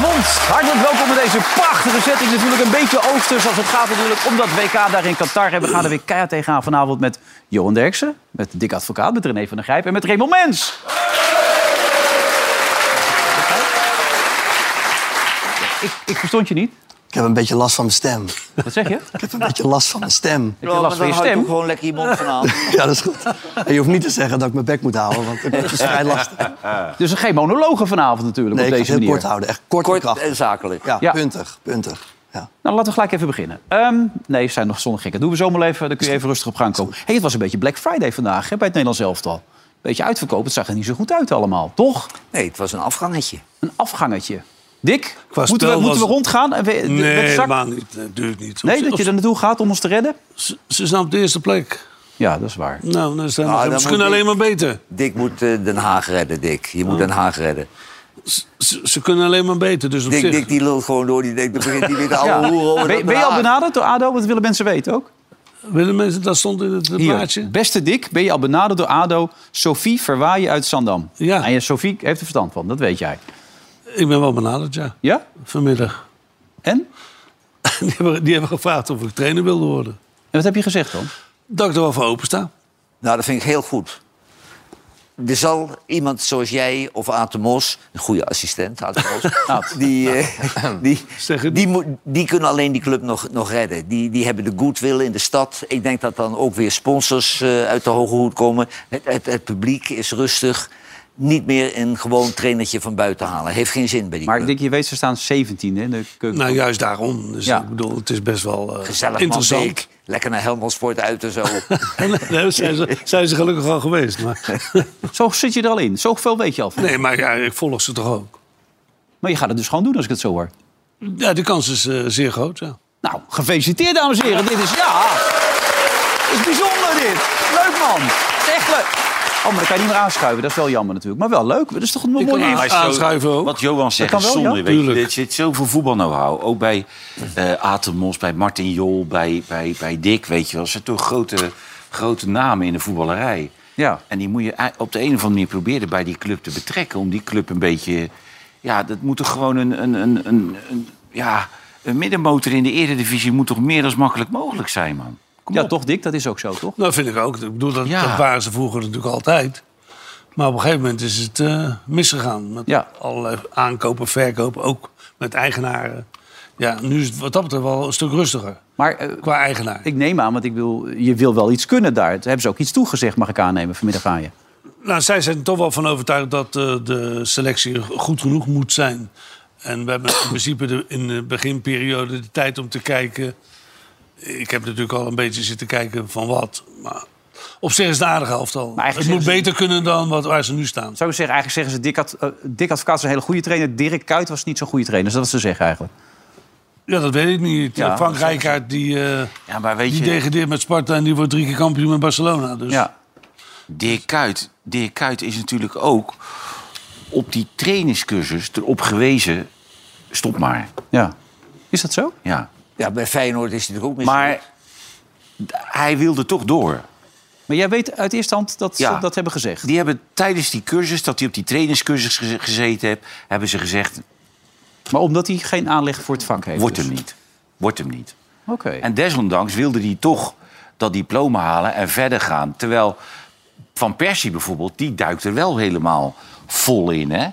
Hartelijk welkom bij deze prachtige setting. Natuurlijk een beetje oosters als het gaat natuurlijk om dat WK daar in Qatar. En we gaan er weer keihard tegenaan vanavond met Johan Derksen, met Dick Advocaat, met René van der Grijp en met Raymond Mens. Ik, ik verstond je niet. Ik heb een beetje last van mijn stem. Ik Wat zeg je? heb een beetje last van mijn stem. Heb je last van je stem? gewoon lekker je mond van Ja, dat is goed. En je hoeft niet te zeggen dat ik mijn bek moet houden, want dat is vrij lastig. Dus geen monologen vanavond natuurlijk Nee, op ik deze ga het manier. kort houden. Echt kort, en Kort krachtig. en zakelijk. Ja, Ja. puntig, puntig. Ja. Nou, laten we gelijk even beginnen. Ehm, nee, ze zijn nog zonnig gekken. Doen we zomaar even, dan kun je even rustig op gang komen. hey, het was een beetje Black Friday vandaag hè, bij het Nederlands elftal. Beetje uitverkoop, het zag er niet zo goed uit allemaal, toch? Nee, het was een afgangetje. Een afgangetje. Dick, Qua moeten we, spel moeten we was- rondgaan? En we- de- Nee, met zak- helemaal niet. Nee, Natuurlijk niet. Of nee ze- dat je of er naartoe gaat om ons te redden? ze, ze staan op de eerste plek. Ja, dat is waar. Nou, dan zijn Ah, dan nog- ze moet kunnen ik- alleen maar beter. Dick moet eh, Den Haag redden, Dick. Je moet Oh. Den Haag redden. Ze, ze kunnen alleen maar beter. Dus op Dick, zich. Dick die lult gewoon door. Die denkt, dan begint hij weer de oude Ja. hoeren over Ben, Den ben je al Haag. benaderd door ADO? Wat willen mensen weten ook? Willen mensen, dat stond in het plaatje. Hier, beste Dick, ben je al benaderd door ADO? Sophie Verwaaien uit Zandam. Ja. En Sophie heeft er verstand van, dat weet jij. Ik ben wel benaderd, ja. Ja? Vanmiddag. En? Die hebben, die hebben gevraagd of ik trainer wilde worden. En wat heb je gezegd dan? Dat ik er wel voor opensta. Nou, dat vind ik heel goed. Er zal iemand zoals jij of Aad de Mos, een goede assistent, Aad de Mos, die, eh, die, Nou, Zeg die, het. moet- die kunnen alleen die club nog, nog redden. Die, die hebben de goodwill in de stad. Ik denk dat dan ook weer sponsors eh, uit de hoge hoed komen. Het, het, het publiek is rustig. Niet meer een gewoon trainertje van buiten halen. Heeft geen zin bij die Eh. Maar club. Dick, je weet, ze staan 17 in de keuken. Nou, juist daarom. Dus Ja. ik bedoel, het is best wel eh, Gezellig man, interessant. eh, Beek. Lekker naar Helmond Sport uit en zo. Daar zijn ze, zijn ze gelukkig al geweest. Maar, Zo zit je er al in. Zoveel weet je al van. nee, maar ja, ik volg ze toch ook. Maar je gaat het dus gewoon doen als ik het zo hoor. Ja, de kans is eh, zeer groot, ja. Nou, gefeliciteerd dames en heren. Dit is, ja, dit is bijzonder dit. Leuk man. Echt leuk. Oh, maar dat kan je niet meer aanschuiven. Dat is wel jammer natuurlijk. Maar wel leuk. Dat is toch een mooie... kan aan- Maar aanschuiven ook. Wat Johan zegt kan is wel, ja. zonde. Weet je, Tuurlijk. er zit zoveel voetbal-know-how. Ook bij eh Atemos, bij Martin Jol, bij, bij, bij Dick. Weet je wel. Dat zijn toch grote, grote namen in de voetballerij. Ja. En die moet je ei- op de een of andere manier proberen bij die club te betrekken. Om die club een beetje... Ja, dat moet toch gewoon een... een, een, een, een- ja, een middenmotor in de eredivisie moet toch meer dan makkelijk mogelijk zijn, man. Kom Ja, op. toch Dick? Dat is ook zo, toch? Nou, vind ik ook. Ik bedoel, dat, Ja. dat waren ze vroeger natuurlijk altijd. Maar op een gegeven moment is het eh, misgegaan. Met Ja. allerlei aankopen, verkopen, ook met eigenaren. Ja, nu is het wat dat betreft wel een stuk rustiger Maar eh, qua eigenaar. ik neem aan, want ik wil, je wil wel iets kunnen daar. Daar hebben ze ook iets toegezegd, mag ik aannemen, vanmiddag aan je. Nou, zij zijn er toch wel van overtuigd dat eh, de selectie goed genoeg moet zijn. En we hebben in principe de, in de beginperiode de tijd om te kijken. Ik heb natuurlijk al een beetje zitten kijken van wat. Maar op zich is het een aardige elftal. Maar Het eigenlijk moet zeggen beter kunnen dan wat, waar ze nu staan. Zou ik zeggen, eigenlijk zeggen ze, Dick, had, eh, Dick Advocaat is een hele goede trainer. Dirk Kuyt was niet zo'n goede trainer. Dat is wat ze zeggen eigenlijk. Ja, dat weet ik niet. Ja, Frank dat zeggen Rijkaard die, eh, Ja, maar weet die je... degradeert met Sparta en die wordt drie keer kampioen met Barcelona. Dus Ja. Dirk Kuyt, Dirk Kuyt is natuurlijk ook op die trainingscursus erop gewezen... stop maar, ja. Is dat zo? ja. Ja, bij Feyenoord is het natuurlijk ook mis. Maar d- hij wilde toch door. Maar jij weet uit eerste hand dat Ja. ze dat hebben gezegd. Die hebben tijdens die cursus, dat hij op die trainingscursus geze- gezeten heeft... hebben ze gezegd, Maar omdat hij geen aanleg voor het vak heeft. wordt dus. hem niet. Wordt hem niet. Oké. En desondanks wilde hij toch dat diploma halen en verder gaan. Terwijl Van Persie bijvoorbeeld, die duikt er wel helemaal vol in, hè?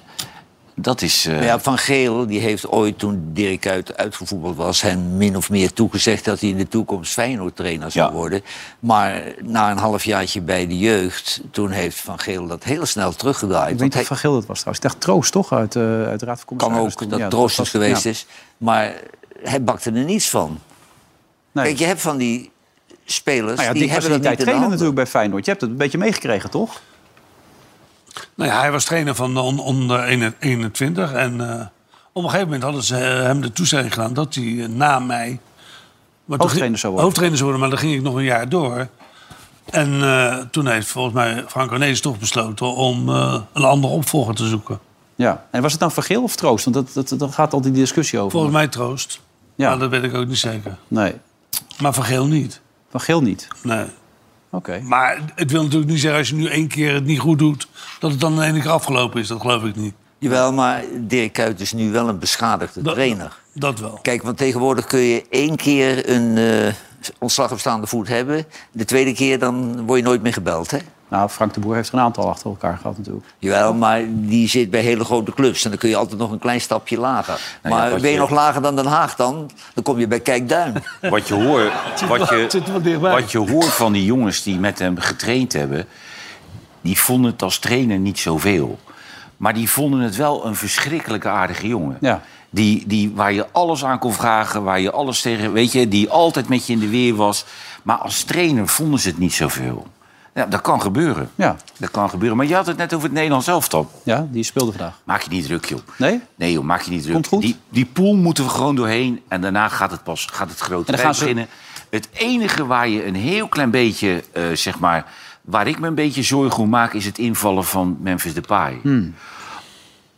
Dat is... eh, Maar ja, Van Geel die heeft ooit, toen Dirk uit, uitgevoetbald was... hem min of meer toegezegd dat hij in de toekomst Feyenoord-trainer zou Ja. worden. Maar na een halfjaartje bij de jeugd... toen heeft Van Geel dat heel snel teruggedraaid. Ik weet Want niet hij of Van Geel dat was trouwens. Ik dacht Troost toch uit, eh uit de Raad van kan Commissarissen. ook toen. dat Ja, troostend was- geweest ja. is. Maar hij bakte er niets van. Nee. Kijk, je hebt van die spelers... Nou ja, die Dick was hebben in die dat niet tijd in de trainer handen. natuurlijk bij Feyenoord. Je hebt het een beetje meegekregen, toch? nou ja, hij was trainer van on- onder 21. En eh, op een gegeven moment hadden ze eh, hem de toezegging gedaan dat hij eh, na mij... maar toen Hoofdtrainer ging- zou worden. Hoofdtrainer zou worden, maar dan ging ik nog een jaar door. En eh, toen heeft volgens mij Frank Cornelis toch besloten om eh, een andere opvolger te zoeken. Ja. En was het dan Van Geel of Troost? Want dat, dat, dat gaat al die discussie over. Volgens mij troost. Ja. Ja. dat weet ik ook niet zeker. Nee, Maar Van Geel niet. Van Geel niet. Nee. Oké. Maar het wil natuurlijk niet zeggen, als je nu één keer het niet goed doet... dat het dan in één keer afgelopen is. Dat geloof ik niet. Jawel, maar Dirk Kuyt is nu wel een beschadigde Dat- trainer. Dat wel. Kijk, want tegenwoordig kun je één keer een eh, ontslag op staande voet hebben. De tweede keer dan word je nooit meer gebeld, hè? Nou, Frank de Boer heeft er een aantal achter elkaar gehad natuurlijk. Jawel, maar die zit bij hele grote clubs. En dan kun je altijd nog een klein stapje lager. Nou ja, maar wat ben je je- nog lager dan Den Haag dan? Dan kom je bij Kijkduin. Wat je, hoort, wat, zit wel je, dichtbij. wat je hoort van die jongens die met hem getraind hebben... die vonden het als trainer niet zoveel. Maar die vonden het wel een verschrikkelijke aardige jongen. Ja. Die, die, waar je alles aan kon vragen, waar je alles tegen... Weet je, die altijd met je in de weer was. Maar als trainer vonden ze het niet zoveel. Ja, dat kan gebeuren. Ja. Dat kan gebeuren. Maar je had het net over het Nederlands elftal. Ja, die speelde vandaag. Maak je niet druk, joh. Nee? Nee, joh, maak je niet druk. Komt goed. Die, die pool moeten we gewoon doorheen. En daarna gaat het pas gaat het grote dan werk gaan ze- beginnen. Het enige waar je een heel klein beetje, eh, zeg maar... waar ik me een beetje zorgen om maak... is het invallen van Memphis Depay.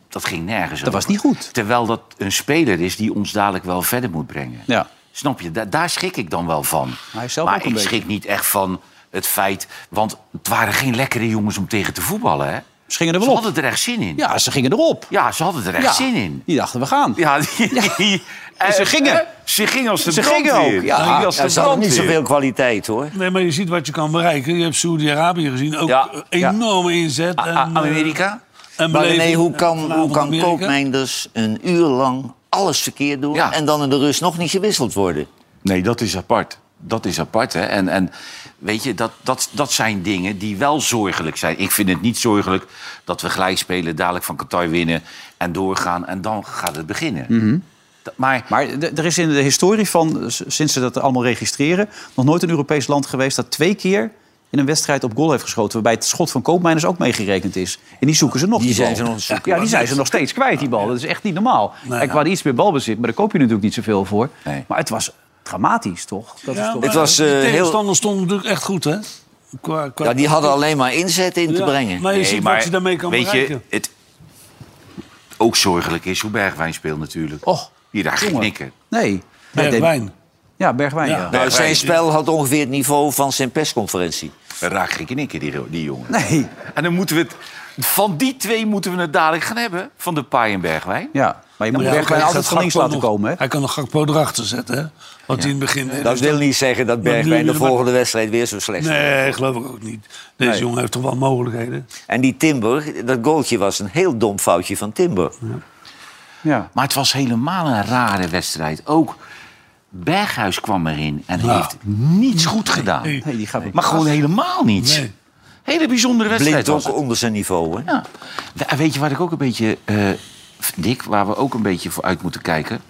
Dat ging nergens Hmm. Dat was niet goed. Terwijl dat een speler is die ons dadelijk wel verder moet brengen. Ja. Snap je? Da- daar schrik ik dan wel van. hij is zelf maar ook een ik beetje. schrik niet echt van het feit... want het waren geen lekkere jongens om tegen te voetballen, hè? Ze gingen er Ze wel op. hadden er echt zin in. Ja, ze gingen erop. Ja, ze hadden er echt Ja. zin in. Die dachten, we gaan. Ja, die- die- En ze eh, gingen. eh, Ze gingen als de Ze gingen brandweer. ook, ja. Ze gingen als Ja, de ze hadden niet brandweer. zoveel kwaliteit, hoor. Nee, maar je ziet wat je kan bereiken. Je hebt Saudi-Arabië gezien. Ook Ja, een ja. enorme inzet. en, A- eh, Amerika? En Maar beleving. nee, hoe En kan, hoe vanavond kan Amerika. Koopmeinders een uur lang alles verkeerd doen... Ja. en dan in de rust nog niet gewisseld worden? Nee, dat is apart. Dat is apart, hè. En, en weet je, dat, dat, dat zijn dingen die wel zorgelijk zijn. Ik vind het niet zorgelijk dat we gelijk spelen, dadelijk van Qatar winnen... en doorgaan, en dan gaat het beginnen. Dat- Maar Maar d- er is in de historie van, eh, s- sinds ze dat allemaal registreren... nog nooit een Europees land geweest dat twee keer in een wedstrijd op goal heeft geschoten... waarbij het schot van Koopmeiners ook meegerekend is. En die zoeken ze nog, Die bal. zijn ze nog aan het zoeken. Ja, die zijn ze nog steeds kwijt, die bal. Dat is echt niet normaal. en qua iets meer balbezit, maar daar koop je natuurlijk niet zoveel voor. Nee. Maar het was dramatisch, toch? Dat is Ja, toch... maar Het was, de eh, heel- tegenstanders stonden natuurlijk echt goed, hè? Qua, qua... Ja, die hadden alleen maar inzet in te Ja, brengen. Maar je Nee, ziet maar wat je daarmee kan weet bereiken. Je, het ook zorgelijk is hoe Bergwijn speelt natuurlijk. Och, Hier, daar ging jongen. knikken. Nee. Bergwijn. Ja, Bergwijn, ja. Ja. Nou, Bergwijn. zijn spel had ongeveer het niveau van zijn persconferentie. Raak geen knikken, die, die jongen. Nee. En dan moeten we het... Van die twee moeten we het dadelijk gaan hebben. Van de Pai en Bergwijn. Ja, maar je moet Ja, Bergwijn hij altijd gaat van links Gakpo laten nog- komen, hè? Hij kan nog Gakpo erachter zetten, hè? Want die in het begin... Dat wil niet zeggen dat nu- Bergwijn de nu- maar- volgende wedstrijd weer zo slecht is. Nee, geloof ik ook niet. Deze jongen heeft toch wel mogelijkheden. En die Timber, dat goaltje was een heel dom foutje van Timber. Ja. Maar het was helemaal een rare wedstrijd. Ook Berghuis kwam erin en Ja. heeft niets goed gedaan. Nee. Nee, die gaat... Maar gewoon helemaal niets. Nee. Hele bijzondere wedstrijd Blind was ook het. onder zijn niveau. Hè? Ja. We- Weet je waar ik ook een beetje... eh Dick, waar we ook een beetje voor uit moeten kijken...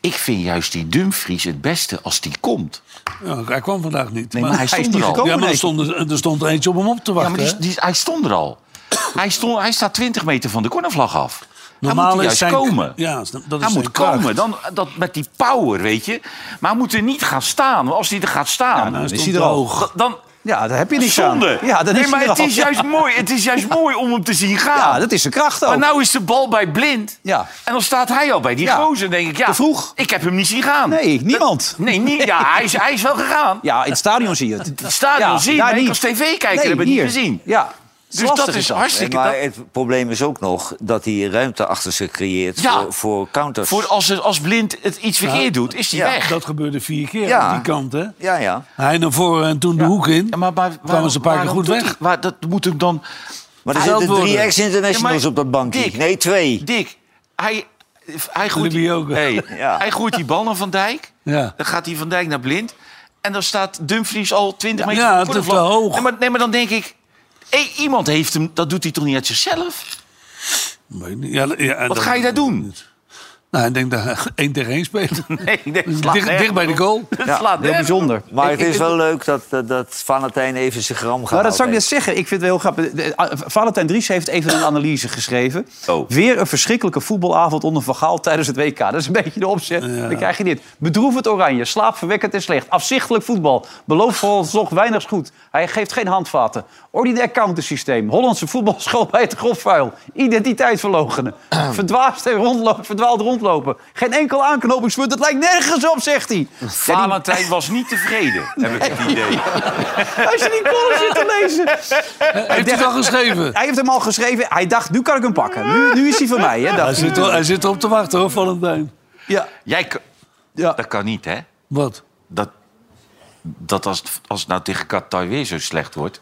Ik vind juist die Dumfries het beste als die komt. Ja, hij kwam vandaag niet. Nee, maar hij stond er al. Ja, maar er stond, er stond eentje op hem op te Ja, wachten. maar die, die, hij stond er al. hij, stond, hij staat 20 meter van de cornervlag af. hij moet er juist zijn- komen. Ja, dat is dat hij is moet zijn kracht. komen, dan, dat, met die power, weet je. Maar hij moet er niet gaan staan. Want als hij er gaat staan, hij dan Nou, stond is hij er te al. hoog. Da- Dan, Ja, daar heb je niks zonde. aan. Ja, dan nee, is maar hij er het al. is, juist mooi, het is juist mooi om hem te zien gaan. Ja, dat is zijn kracht ook. maar nou is de bal bij blind. Ja. En dan staat hij al bij die Ja. gozer. Dan denk ik, ja, Te vroeg. ik heb hem niet zien gaan. Nee, niemand. Nee, niet, ja, hij, is, hij is wel gegaan. Ja, in het stadion zie je het. Het stadion Ja, zien, daar maar ik niet. als tv-kijker Nee, heb ik niet hier. gezien. Ja. Dus dat Lastig is hartstikke... dat- Maar het probleem is ook nog dat hij ruimte achter zich creëert Ja. voor, voor counters. Voor als, het- als blind het iets verkeerd doet, is hij Ja, weg. Dat gebeurde vier keer Ja. aan die kant, hè? Ja, ja. Hij naar voren en toen de hoek in. Ja, maar, maar waarom- ze een paar keer waarom goed doet weg. hij- waar, dat moet ik dan... Maar er Hij- zitten worden. drie ex-internationals Ja, maar- op dat bankje. Dick. nee, twee. Dick, hij, hij, gooit die, Libby ook. Hey, Ja. hij gooit die bal naar Van Dijk. Ja. Dan gaat die Van Dijk naar blind. En dan staat Dumfries al 20 meter Ja, voor het de is vlag. te hoog. Nee, maar, nee, maar dan denk ik... hé, iemand heeft hem, dat doet hij toch niet uit zichzelf? Weet niet. Ja, ja, Wat dat- ga je daar doen? Nou, ik denk dat hij één tegen één speelt. Nee, nee, het slaat dicht, nergens dicht bij de op. goal. Het slaat Heel nergens op. bijzonder. Maar het is wel leuk dat, dat, dat Valentijn even zijn gram gaat Nou, dat zou ik net zeggen. Ik vind het heel grappig. De- de- Valentijn Dries heeft even een analyse geschreven. Oh. Weer een verschrikkelijke voetbalavond onder Van Gaal tijdens het WK. Dat is een beetje de opzet. Dan krijg je dit. Bedroevend oranje, slaapverwekkend en slecht. Afzichtelijk voetbal. Belooft vooral nog weinig goed. Hij geeft geen handvaten. Ordinair countersysteem. Hollandse voetbalschool bij het grofvuil. Identiteit verlogenen. Verdwaasd en rondlo- verdwaald rondlopen. Geen enkel aanknopingspunt. Het lijkt nergens op, zegt hij. Valentijn was niet tevreden, heb ik het idee. Als je die column zit te lezen. Heeft hij het al geschreven? Hij heeft hem al geschreven. Hij dacht, nu kan ik hem pakken. Nu, nu is hij van mij. Hè, dacht Hij hij. zit, er- hij zit erop te wachten, hoor, Valentijn. Ja. Jij kan- Ja. Dat kan niet, hè? Wat? Dat, dat als, als het nou tegen Qatar weer zo slecht wordt...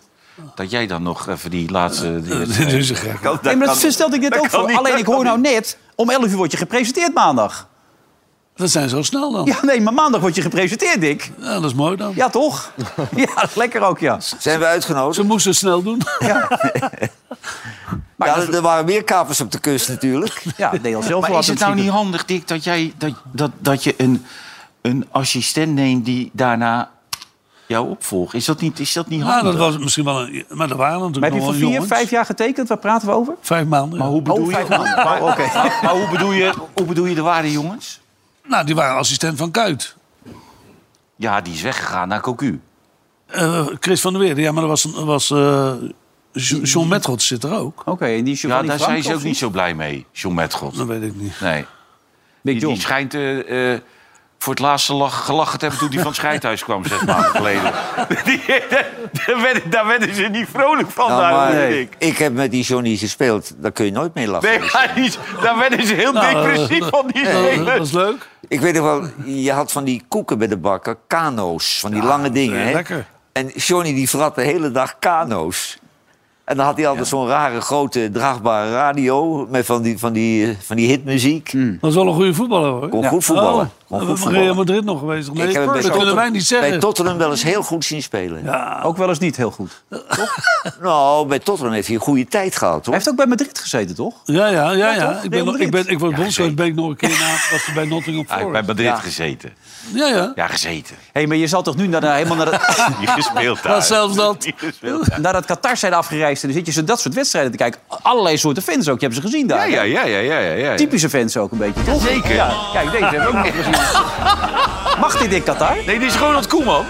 dat jij dan nog even die Eh, laatste... die- Dat is een gek. Dat Nee, maar dat kan- stelde ik net dat ook kan voor. niet, Alleen dat ik kan hoor nou niet. net, om 11 uur word je gepresenteerd maandag. Dat zijn zo snel dan. Ja, nee, maar maandag word je gepresenteerd, Dick. Ja, dat is mooi dan. Ja, toch? Ja, lekker ook, ja. Zijn we uitgenodigd? Ze moesten het snel doen. Maar ja, dat- er waren meer kapers op de kust natuurlijk. Ja, Nederland zelf Maar wel is het had nou niet handig, Dick, dat, jij, dat, dat, dat je een, een assistent neemt die daarna jou opvolgt? Is dat niet, is dat Nou, niet Ja, handig? Ah, dat was misschien wel een... Maar er waren Maar natuurlijk heb je nog wel voor vier, jongens. vijf jaar getekend? Waar praten we over? Vijf maanden. Maar hoe bedoel Oh, je? vijf maanden. Maar, Oh, oké. maar- maar hoe bedoel je, hoe bedoel je de ware jongens? Nou, die waren assistent van Kuit. Ja, die is weggegaan naar Cocu. Eh, Chris van der Weer, ja, maar er was, een- was eh, Jo- John Metrot zit er ook. Oké, en die Ja, Giovanni daar Franco zijn ze ook of niet zo blij mee, John Metgod. Dat weet ik niet. Nee. Big Die, die John. schijnt eh, eh, voor het laatste lach, gelachen te hebben toen hij van het scheidhuis kwam, zes maanden geleden. Die, daar, werden, daar werden ze niet vrolijk van, Nou, daar maar hoorde ik. ik. heb met die Johnny gespeeld. Daar kun je nooit mee lachen. Nee, maar die- daar werden ze heel Nou, depressief eh, van, die eh, Dat spelers. is leuk. Ik weet nog wel, je had van die koeken bij de bakker, kano's, van die lange dingen. eh, hè? lekker. En Johnny die vrat de hele dag kano's. En dan had hij altijd zo'n rare grote draagbare radio met van die, van die, eh, van die hitmuziek. Dat is wel een goede voetballer hoor. Kon goed voetballen. Oh, Kon we goed hebben Real voetballen. Madrid nog geweest. Nee, Ik heb hem bij dat kunnen wij Tottenham- niet zeggen. bij Tottenham wel eens heel goed zien spelen. Ook wel eens niet heel goed. Nou, bij Tottenham heeft hij een goede tijd gehad, Hij hoor. heeft ook bij Madrid gezeten, toch? ja, ja, ja. Ja, ja. toch? Ik, Real ben, nog- ik, ben, ik word bondscoach zeker. ben ik nog een keer na. Was hij bij Nottingham Hij heeft bij Forest. Madrid Ja. gezeten. Ja, ja. Ja, gezeten. Hé, maar je zal toch nu naar de- helemaal naar, de- Niet gespeeld daar. Maar zelfs dat. Niet gespeeld daar. naar dat Qatar zijn afgereisd... en dan zit je zo dat soort wedstrijden te kijken. Allerlei soorten fans ook. Je hebt ze gezien daar. Ja, hè? ja, ja, ja, ja, ja, ja. Typische fans ook een beetje, toch? Zeker. Ja, kijk, deze hebben we ook nog gezien. Mag dit in Qatar? Nee, dit is Ronald Koeman.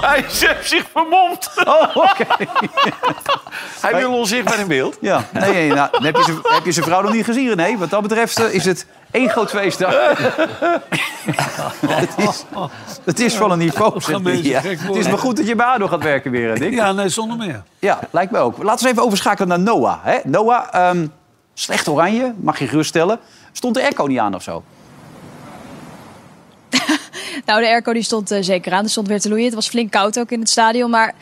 Hij heeft zich vermomd. Oh, oké. Hij wil onzichtbaar in beeld. Ja, nee, nee, nou, dan heb je, zijn, heb je zijn vrouw nog niet gezien, René. Wat dat betreft eh, is het één groot feestdag. het, is, het is van een niveau, Gaan zegt hij. mensen Ja. gek Het is worden. maar goed dat je bij ADO gaat werken weer, hè, Dick. Ja, nee, zonder meer. Ja, lijkt me ook. Laten we even overschakelen naar Noah. Hè? Noah, ehm, slecht oranje, mag je geruststellen. Stond de airco niet aan of zo? Nou, de airco die stond eh, zeker aan. Er stond weer te loeien. Het was flink koud ook in het stadion. Maar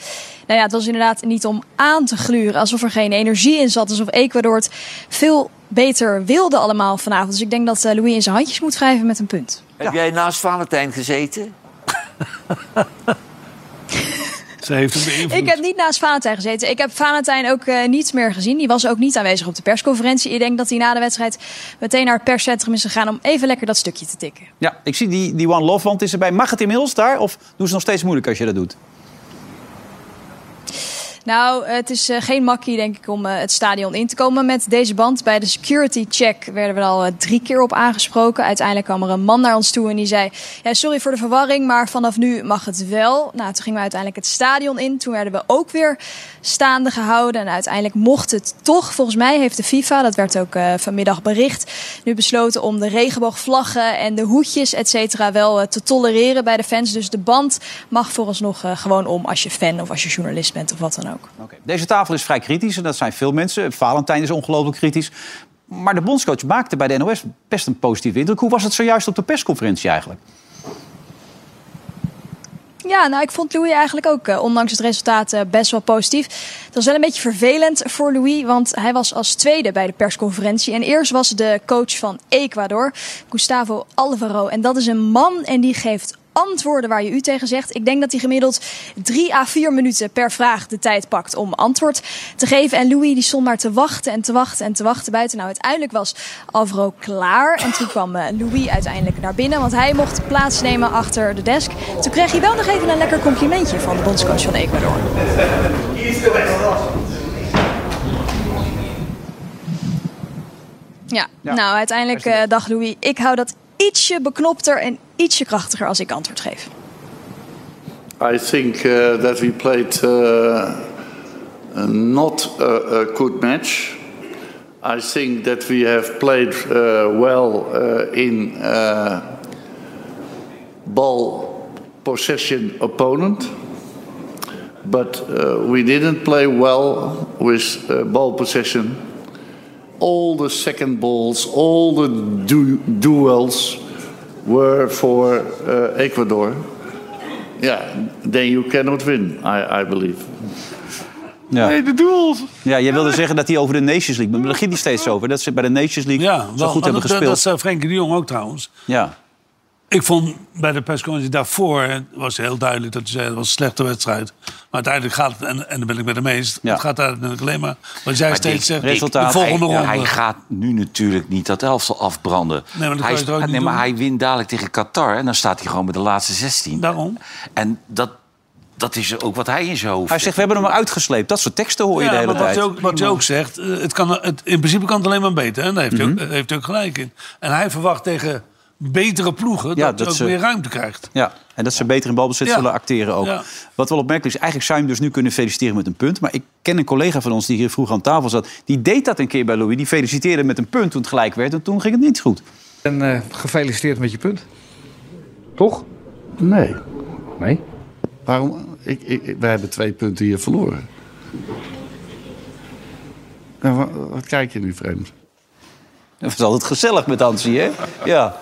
nou ja, het was inderdaad niet om aan te gluren. Alsof er geen energie in zat. Alsof Ecuador het veel beter wilde allemaal vanavond. Dus ik denk dat eh, Louis in zijn handjes moet wrijven met een punt. Heb jij naast Valentijn gezeten? Ze heeft hem beïnvloed. Ik heb niet naast Valentijn gezeten. Ik heb Valentijn ook eh, niets meer gezien. Die was ook niet aanwezig op de persconferentie. Ik denk dat hij na de wedstrijd meteen naar het perscentrum is gegaan... om even lekker dat stukje te tikken. Ja, ik zie die, die One Love Want is erbij. Mag het inmiddels daar? Of doen ze nog steeds moeilijk als je dat doet? Nou, het is eh, geen makkie, denk ik, om eh, het stadion in te komen met deze band. Bij de security check werden we er al eh, drie keer op aangesproken. Uiteindelijk kwam er een man naar ons toe en die zei... Ja, sorry voor de verwarring, maar vanaf nu mag het wel. Nou, toen gingen we uiteindelijk het stadion in. Toen werden we ook weer staande gehouden. En uiteindelijk mocht het toch. Volgens mij heeft de FIFA, dat werd ook eh, vanmiddag bericht... nu besloten om de regenboogvlaggen en de hoedjes, et cetera... wel eh, te tolereren bij de fans. Dus de band mag vooralsnog eh, gewoon om als je fan of als je journalist bent of wat dan ook. Oké, Deze tafel is vrij kritisch en dat zijn veel mensen. Valentijn is ongelooflijk kritisch. Maar de bondscoach maakte bij de NOS best een positieve indruk. Hoe was het zojuist op de persconferentie eigenlijk? Ja, nou, ik vond Louis eigenlijk ook, eh, ondanks het resultaat, eh, best wel positief. Het was wel een beetje vervelend voor Louis, want hij was als tweede bij de persconferentie. En eerst was de coach van Ecuador, Gustavo Alvaro. En dat is een man en die geeft antwoorden waar je u tegen zegt. Ik denk dat hij gemiddeld drie à vier minuten per vraag de tijd pakt om antwoord te geven. En Louis die stond maar te wachten en te wachten en te wachten buiten. Nou, uiteindelijk was Alvaro klaar. En toen kwam eh, Louis uiteindelijk naar binnen, want hij mocht plaatsnemen achter de desk. Toen kreeg hij wel nog even een lekker complimentje van de bondscoach van Ecuador. Ja, nou uiteindelijk eh, dacht Louis, ik hou dat ietsje beknopter en ietsje krachtiger als ik antwoord geef. I think uh, that we played uh, uh, not a, a good match. I think that we have played uh, well uh, in uh, ball possession opponent, but uh, we didn't play well with uh, ball possession. All the second balls, all the du- duels were for uh, Ecuador. Yeah, then you cannot win, I, I believe. Ja. Nee, de doels. Ja, jij wilde zeggen dat hij over de Nations League... Maar daar ging hij steeds over. Dat ze bij de Nations League Ja, zo wel, goed hebben dat, dat- gespeeld. dat zei Frenkie de Jong ook trouwens. Ja. Ik vond bij de persconferentie daarvoor eh, was heel duidelijk dat hij zei... het was een slechte wedstrijd. Maar uiteindelijk gaat het, en, en daar ben ik met hem eens... Ja. het gaat uiteindelijk alleen maar... wat jij steeds dit- zegt, resultaat, de volgende hij, ronde. hij gaat nu natuurlijk niet dat elftal afbranden. maar dat kan hij, je toch ook niet nee, maar doen? hij wint dadelijk tegen Qatar en dan staat hij gewoon bij de laatste 16. Daarom. En dat, dat is ook wat hij in zijn hoofd Hij zegt, we hebben hem maar uitgesleept. Dat soort teksten hoor je de Ja, hele maar wat tijd. je, ook, wat je ook zegt, eh, het kan, het, in principe kan het alleen maar beter. En daar heeft, hij Mhm. ook, daar heeft hij ook gelijk in. En hij verwacht tegen betere ploegen Ja, dat, dat hij ook ze- meer zullen- ruimte krijgt. Ja, en dat ze beter in balbezit Ja. zullen acteren ook. Ja. Wat wel opmerkelijk is, eigenlijk zou je hem dus nu kunnen feliciteren met een punt. Maar ik ken een collega van ons die hier vroeg aan tafel zat. Die deed dat een keer bij Louis. Die feliciteerde met een punt toen het gelijk werd. En toen ging het niet goed. En eh, gefeliciteerd met je punt. Toch? Nee. Nee. Waarom? Ik, ik, ik- wij hebben twee punten hier verloren. Nou, wa- wat, kijk je nu vreemd? Dat was altijd gezellig met Hansi, hè? Ja.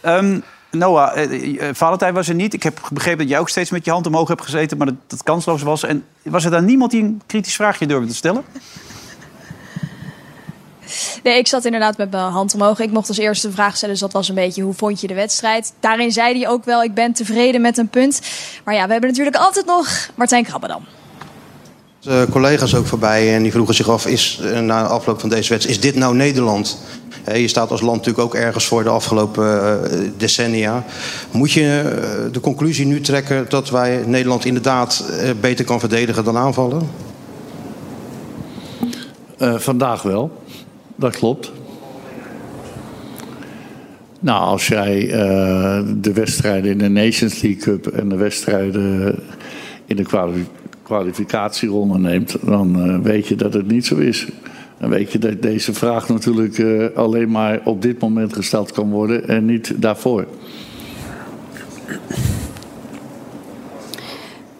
Ehm, Noah, eh, eh, Valentijn was er niet. Ik heb begrepen dat jij ook steeds met je hand omhoog hebt gezeten... maar dat dat kansloos was. En was er dan niemand die een kritisch vraagje durfde te stellen? Nee, ik zat inderdaad met mijn hand omhoog. Ik mocht als eerste de vraag stellen, dus dat was een beetje hoe vond je de wedstrijd. Daarin zei hij ook wel, ik ben tevreden met een punt. Maar ja, we hebben natuurlijk altijd nog Martijn Krabbedam. Eh, collega's ook voorbij en die vroegen zich af, is, eh, na de afloop van deze wedstrijd, is dit nou Nederland? Hè, je staat als land natuurlijk ook ergens voor de afgelopen eh, decennia. Moet je eh, de conclusie nu trekken dat wij Nederland inderdaad eh, beter kan verdedigen dan aanvallen? Eh, vandaag wel. Dat klopt. Nou, als jij eh, de wedstrijden in de Nations League Cup en de wedstrijden in de kwali- kwalificatieronde neemt, dan eh, weet je dat het niet zo is. Dan weet je dat deze vraag natuurlijk eh, alleen maar op dit moment gesteld kan worden en niet daarvoor.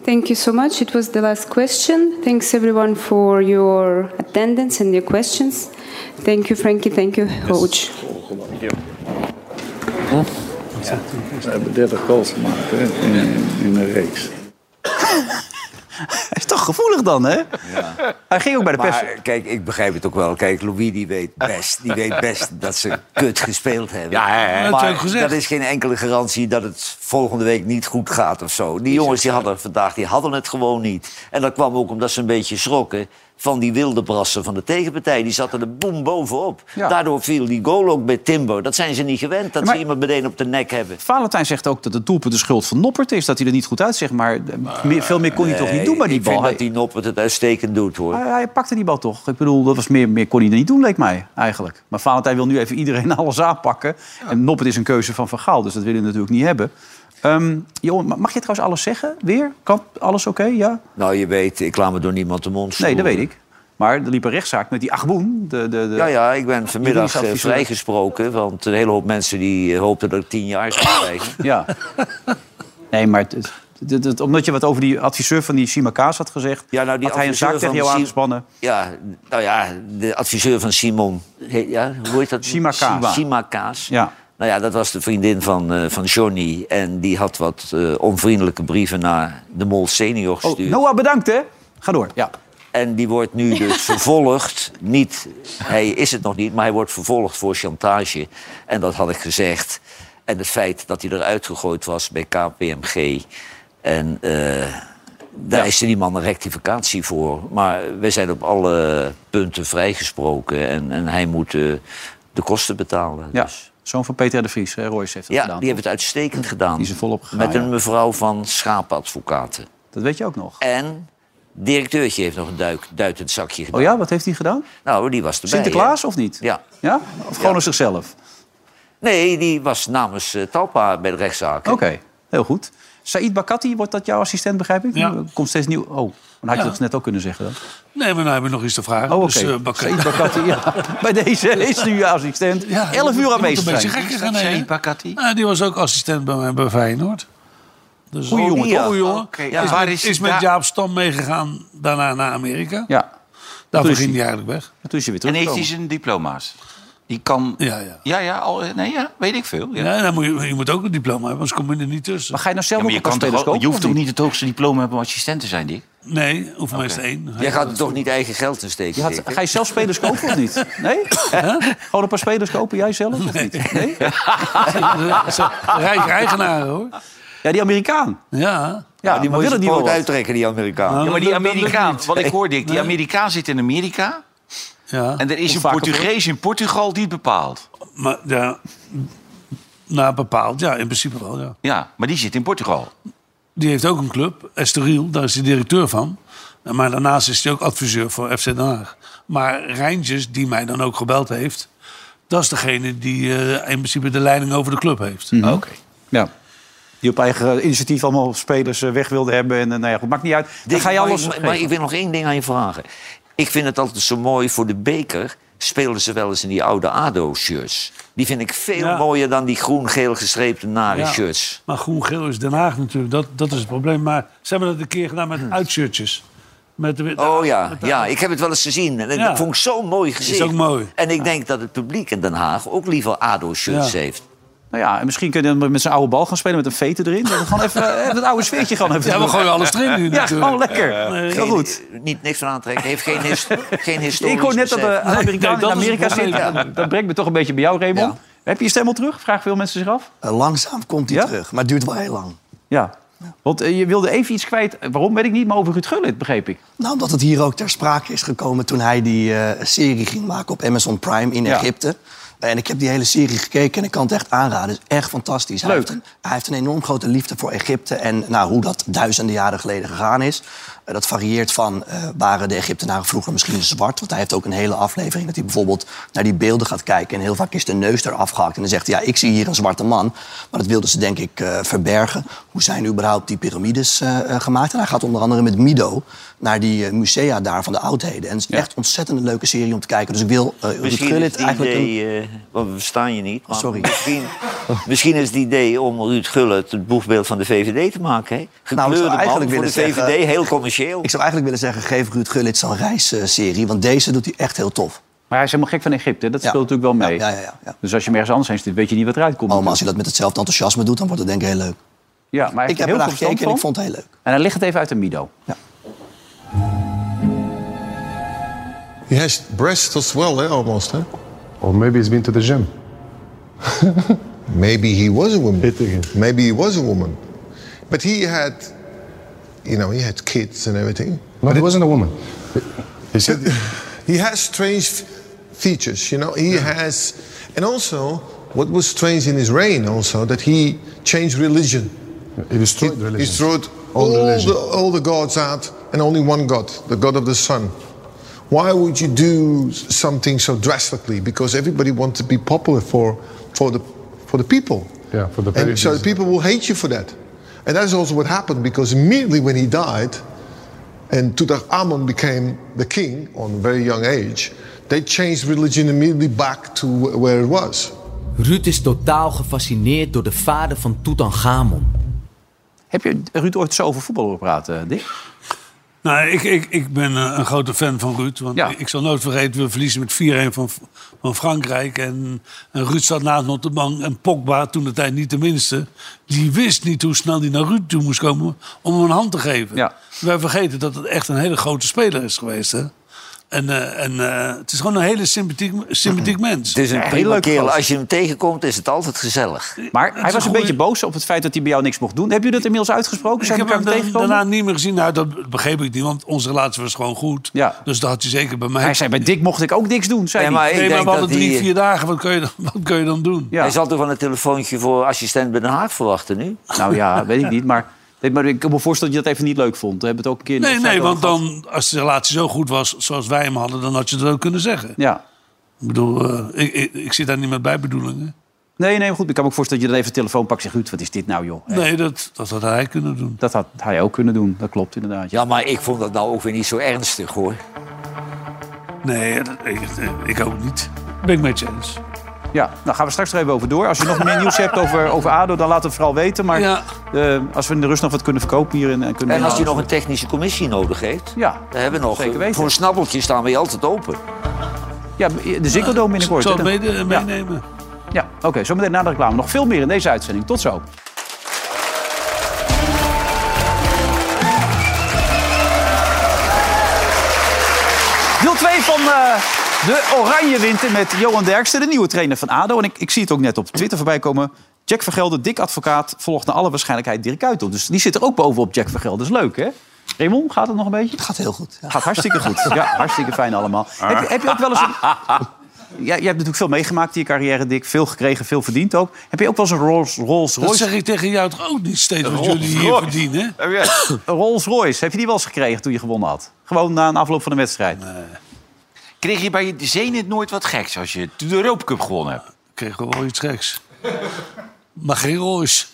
Thank you so much. It was the last question. Thanks everyone for your attendance and your questions. Thank you, Frankie. Thank you, coach. We hebben 30 goals gemaakt hè, in, in een reeks. Hij is toch gevoelig dan, hè? Hij ging ook bij de pers... Maar Ah, kijk, ik begrijp het ook wel. Kijk, Louis die weet best, die weet best dat ze kut gespeeld hebben. Ja, hè, hè. Dat heb maar ik gezegd. dat is geen enkele garantie dat het volgende week niet goed gaat of zo. Die jongens die hadden vandaag die hadden het gewoon niet. En dat kwam ook omdat ze een beetje schrokken van die wilde brassen van de tegenpartij. Die zaten er boem bovenop. Ja. Daardoor viel die goal ook bij Timber. Dat zijn ze niet gewend, dat Maar- ze iemand meteen op de nek hebben. Valentijn zegt ook dat het doelpunt de schuld van Noppert is. Dat hij er niet goed uitziet. Maar eh, meer- veel meer kon hij toch niet doen bij die Eh, ik bal. Ah. vind Hij, dat die Noppert het uitstekend doet, hoor. hij- hij pakte die bal toch. Ik bedoel, dat was meer, meer kon hij er niet doen, leek mij eigenlijk. Maar Valentijn wil nu even iedereen alles aanpakken. En Noppert is een keuze van Van Gaal. Dus dat willen we natuurlijk niet hebben. Ehm Johan, ma- mag je trouwens alles zeggen? Weer? Kan alles oké? Ja? Nou, je weet, ik laat me door niemand de mond Nee, dat snoeren. weet ik. Maar er liep een rechtszaak met die Achboen. De, de, de... Ja, ja, ik ben Juridisch vanmiddag eh, eh, adviseur. vrijgesproken. Want een hele hoop mensen die eh, hoopten dat ik tien jaar Ah! zou krijgen. Ja. Nee, maar het- het- het- het- omdat je wat over die adviseur van die Simakaas had gezegd... Ja, nou, die had hij een adviseur zaak tegen van jou Sim- aangespannen. Ja, nou ja, de adviseur van Simon. he- ja, hoe heet dat? Sima Kaas. Sima- Sima Kaas. Ja. Nou ja, dat was de vriendin van, eh, van Johnny. En die had wat eh, onvriendelijke brieven naar de Mol senior Oh, gestuurd. Noah, bedankt, hè? Ga door, ja. En die wordt nu dus vervolgd. Niet, hij is het nog niet, maar hij wordt vervolgd voor chantage. En dat had ik gezegd. En het feit dat hij eruit gegooid was bij KPMG. En eh, daar is er niemand een rectificatie voor. Maar we zijn op alle punten vrijgesproken. En, en hij moet eh, de kosten betalen. ja. Dus- Zoon van Peter R. de Vries, hè, Royce heeft dat ja, gedaan. die hebben het uitstekend gedaan. Die zijn volop gegaan, Met een ja. mevrouw van schaapadvocaten. Dat weet je ook nog. En directeurtje heeft nog een duik, duitend zakje gedaan. Oh ja, wat heeft hij gedaan? Nou, die was erbij. Sinterklaas eh, hè? of niet? Ja. Ja? Of gewoon Ja. op zichzelf? Nee, die was namens eh, Talpa bij de rechtszaak. hè? Oké. Heel goed. Said Bakati, wordt dat jouw assistent, begrijp ik? Ja. Er Komt steeds nieuw. Oh, dan had je Ja. dat net ook kunnen zeggen dan. Nee, maar nou hebben we nog iets te vragen. Oh, oké. Dus, eh, Bakker- Saïd Bakati, ja. Bij deze is nu jouw assistent. Ja, 11 je uur moet aanwezig een beetje zijn. gekker gaan Saïd eten. Bakati? Nou, die was ook assistent bij mij bij Feyenoord. Dus Goeie jongen, Ja. toch? Goeie jongen. Oké, Is, ja. Waar met, is hij is met daar- Jaap Stam meegegaan daarna naar Amerika. Ja, Daarvoor is ging hij. hij eigenlijk weg. en toen is je weer En heeft teruggekomen. hij zijn diploma's? Die kan... Ja, ja. Ja, ja, al, nee, ja weet ik veel. Ja. Nee, dan moet je, je moet ook een diploma hebben, anders kom je er niet tussen. Maar ga je nou Ja, zelf maar ook je, een paar kan toch spelers wel- kopen? je hoeft of toch niet het hoogste diploma hebben om assistent te zijn, Dick? Nee, hoeft maar eens één. Jij gaat er toch niet eigen geld in steken? Je had- Ah, Dick? ga je zelf spelers kopen of niet? Nee? Gewoon een paar spelers kopen, jij zelf of niet? Nee? Ah. Rijke eigenaren hoor. Ja, die Amerikaan. Ja. Ja, die moet willen je die poot wel wat. uittrekken, die Amerikaan. Nou, Ja, maar die dat- dat lukt Amerikaan, niet. wat ik hoor, Dick, die Amerikaan zit in Amerika. ja. En er is een Portugees in Portugal die het bepaalt. Maar ja, nou, bepaald. Ja, in principe wel. Ja. Ja, maar die zit in Portugal. Die heeft ook een club, Estoril, daar is hij directeur van. En Maar daarnaast is hij ook adviseur voor FC Den Haag. Maar Rijntjes, die mij dan ook gebeld heeft... dat is degene die eh, in principe de leiding over de club heeft. Mm. Oké. Ja. Mhm. Die op eigen eh, initiatief allemaal spelers eh, weg wilden hebben. En, eh, nou ja, goed, maakt niet uit. Dan Dick, ga je maar alles... ik- maar ik wil nog één ding aan je vragen. Ik vind het altijd zo mooi voor de beker. Spelen ze wel eens in die oude ADO-shirts. Die vind ik veel Ja. mooier dan die groen-geel gestreepte nare Ja. shirts. Maar groen-geel is Den Haag natuurlijk, dat, dat is het probleem. Maar ze hebben dat een keer gedaan met uitshirtjes. Met de, wit- Oh ja, ja, ik heb het wel eens gezien. En Ja. Dat vond ik zo'n mooi gezicht. ook mooi. En ik denk dat het publiek in Den Haag ook liever ADO-shirts Ja. heeft. Nou ja, en misschien kunnen we met zijn oude bal gaan spelen met een vete erin. Dat we gewoon even eh, even het oude sfeertje gaan hebben. Ja, we gooien alles erin nu Ja, natuurlijk. gewoon lekker. Heel Geen- goed. Niet niks van aantrekken. Heeft geen, his, geen historisch Ik hoor net dat besef. de Amerikaan nee, dat in is het Amerika zit. probleem. Ja, Dat brengt me toch een beetje bij jou, Raymond. Heb je je stem al terug? Vragen veel mensen zich af. Eh, Langzaam komt hij Ja? terug, maar het duurt wel heel lang. Ja. Want eh, je wilde even iets kwijt. Eh, Waarom weet ik niet, maar over Ruud Gullit, begreep ik. Nou, omdat het hier ook ter sprake is gekomen toen hij die eh, serie ging maken op Amazon Prime in Ja. Egypte. Eh, En ik heb die hele serie gekeken en ik kan het echt aanraden. Het is echt fantastisch. Hij Leuk. heeft, een, hij heeft een enorm grote liefde voor Egypte. En nou, hoe dat duizenden jaren geleden gegaan is. eh, dat varieert van, eh, waren de Egyptenaren vroeger misschien zwart? Want hij heeft ook een hele aflevering dat hij bijvoorbeeld naar die beelden gaat kijken. En heel vaak is de neus eraf gehakt. En dan zegt hij, ja, ik zie hier een zwarte man. Maar dat wilden ze denk ik eh, verbergen. Hoe zijn überhaupt die piramides eh, eh, gemaakt? En hij gaat onder andere met Mido naar die eh, musea daar van de oudheden. En het is echt een ontzettend leuke serie om te kijken. Dus ik wil eh Ruud Misschien is Gullit het eigenlijk... een- idee, eh, want we verstaan je niet. Maar sorry. Misschien, misschien is het idee om Ruud Gullit het boegbeeld van de VVD te maken. Hè? zou Gekleurde eigenlijk man voor willen de VVD, zeggen- heel commercieel. Ik zou eigenlijk willen zeggen, geef Ruud Gullit zijn reisserie. Want deze doet hij echt heel tof. Maar hij is helemaal gek van Egypte. hè? Dat Ja. speelt natuurlijk wel mee. Ja, ja, ja, ja. Dus als je hem ergens anders heen zit, weet je niet wat eruit komt. Oh, maar als je dat met hetzelfde enthousiasme doet, dan wordt het denk ik heel leuk. ja, maar hij heeft er Ik heb heel ernaar veel verstand gekeken en ik van. vond het heel leuk. En dan ligt het even uit de Mido. He has breasts as well, eh, almost, huh? Or maybe he's been to the gym. Maybe he was a woman. Hit again. Maybe he was a woman. But he had, you know, he had kids and everything. No, he wasn't a woman. He said, He has strange f- features, you know. He has, and also what was strange in his reign also that he changed religion. he He, destroyed he religion. destroyed All all, religion. the, all the gods out and only one God, the God of the sun. Why would you do s- something so drastically? Because everybody wants to be popular for, for, the, for the people. Yeah, for the And so Persians. the people will hate you for that. And that's also what happened because immediately when he died, and Tutankhamun became the king on a very young age, they changed religion immediately back to wh- where it was. Ruud is totaal gefascineerd door de vader van Tutankhamon. Heb je Ruud ooit zo over voetbal horen praten, Dick? Nou, ik, ik, ik ben eh, een grote fan van Ruud. Want Ja. ik zal nooit vergeten, we verliezen met 4-1 van, van Frankrijk. En, en Ruud zat naast me op de bank. En Pogba, toen de tijd niet de minste... die wist niet hoe snel hij naar Ruud toe moest komen om hem een hand te geven. Ja. Wij vergeten dat het echt een hele grote speler is geweest, hè? En, eh, en eh, het is gewoon een hele sympathiek, sympathiek Mhm. mens. Het is een Ja, heel prima leuk kerel. gast. Als je hem tegenkomt, is het altijd gezellig. Maar hij is was een een goeie- beetje boos op het feit dat hij bij jou niks mocht doen. Heb je dat inmiddels uitgesproken? Zijn ik jullie heb elkaar hem da- tegengekomen? daarna niet meer gezien. Nou, dat begreep ik niet, want onze relatie was gewoon goed. Ja. Dus dat had hij zeker bij mij. Hij zei, bij Dick mocht ik ook niks doen, zei Nee, hij. maar ik nee, maar denk we hadden dat drie, die- vier dagen. Wat kun je dan, wat kun je dan doen? Ja. Hij zal toch wel een telefoontje voor assistent bij Den Haag verwachten nu? Nou ja, weet ik niet. Maar, nee, maar ik kan me voorstellen dat je dat even niet leuk vond. We hebben het ook een keer... in de Nee, nee, wedstrijd want over dan, als de relatie zo goed was zoals wij hem hadden, dan had je dat ook kunnen zeggen. gehad. Ja. Ik bedoel, eh, ik, ik, ik zit daar niet met bijbedoelingen. Nee, nee, maar goed. Ik kan me ook voorstellen dat je dan even een telefoon pakt en zegt... Ruud, wat is dit nou, joh? Nee, dat, dat had hij kunnen doen. Dat had hij ook kunnen doen. Dat klopt inderdaad. Ja, maar ik vond dat nou ook weer niet zo ernstig, hoor. Nee, dat- ik, ik ook niet. Ben ik met je eens. Ja, nou gaan we straks er even over door. Als je nog meer nieuws hebt over, over ADO, dan laat het vooral weten. Maar Ja. eh, als we in de rust nog wat kunnen verkopen hier... En, en kunnen En als je nog een technische commissie nodig heeft... Ja, We hebben nog. Zeker weten. Voor een snabbeltje staan we hier altijd open. ja, de Ziggo Dome binnenkort. Ik Eh, zal hè? het mede- Ja. meenemen. Ja, oké. zometeen na de reclame. Nog veel meer in deze uitzending. Tot zo. Deel 2 van eh, de Oranje Winter met Johan Derksen, de nieuwe trainer van ADO. En ik, ik zie het ook net op Twitter voorbij komen. Jack Vergelder, dik advocaat, volgt naar alle waarschijnlijkheid Dirk Kuyt op. Dus die zit er ook bovenop Jack Vergelder. Dat is leuk, hè? Raymond, gaat het nog een beetje? Gaat heel goed. ja. Gaat hartstikke goed. Ja, hartstikke fijn allemaal. Heb, je- heb je ook wel eens een... Jij, jij hebt natuurlijk veel meegemaakt in je carrière, Dick. Veel gekregen, veel verdiend ook. Heb je ook wel eens een Rolls, Rolls Dat Royce... zeg ik tegen jou toch ook niet steeds wat Rolls jullie hier Royce. verdienen. hè? Heb jij? Een Rolls Royce, heb je die wel eens gekregen toen je gewonnen had? Gewoon na een afloop van een wedstrijd. Kreeg je bij je zenit nooit wat geks als je de Europa Cup gewonnen hebt? Ik kreeg wel iets geks. Maar geen Royce.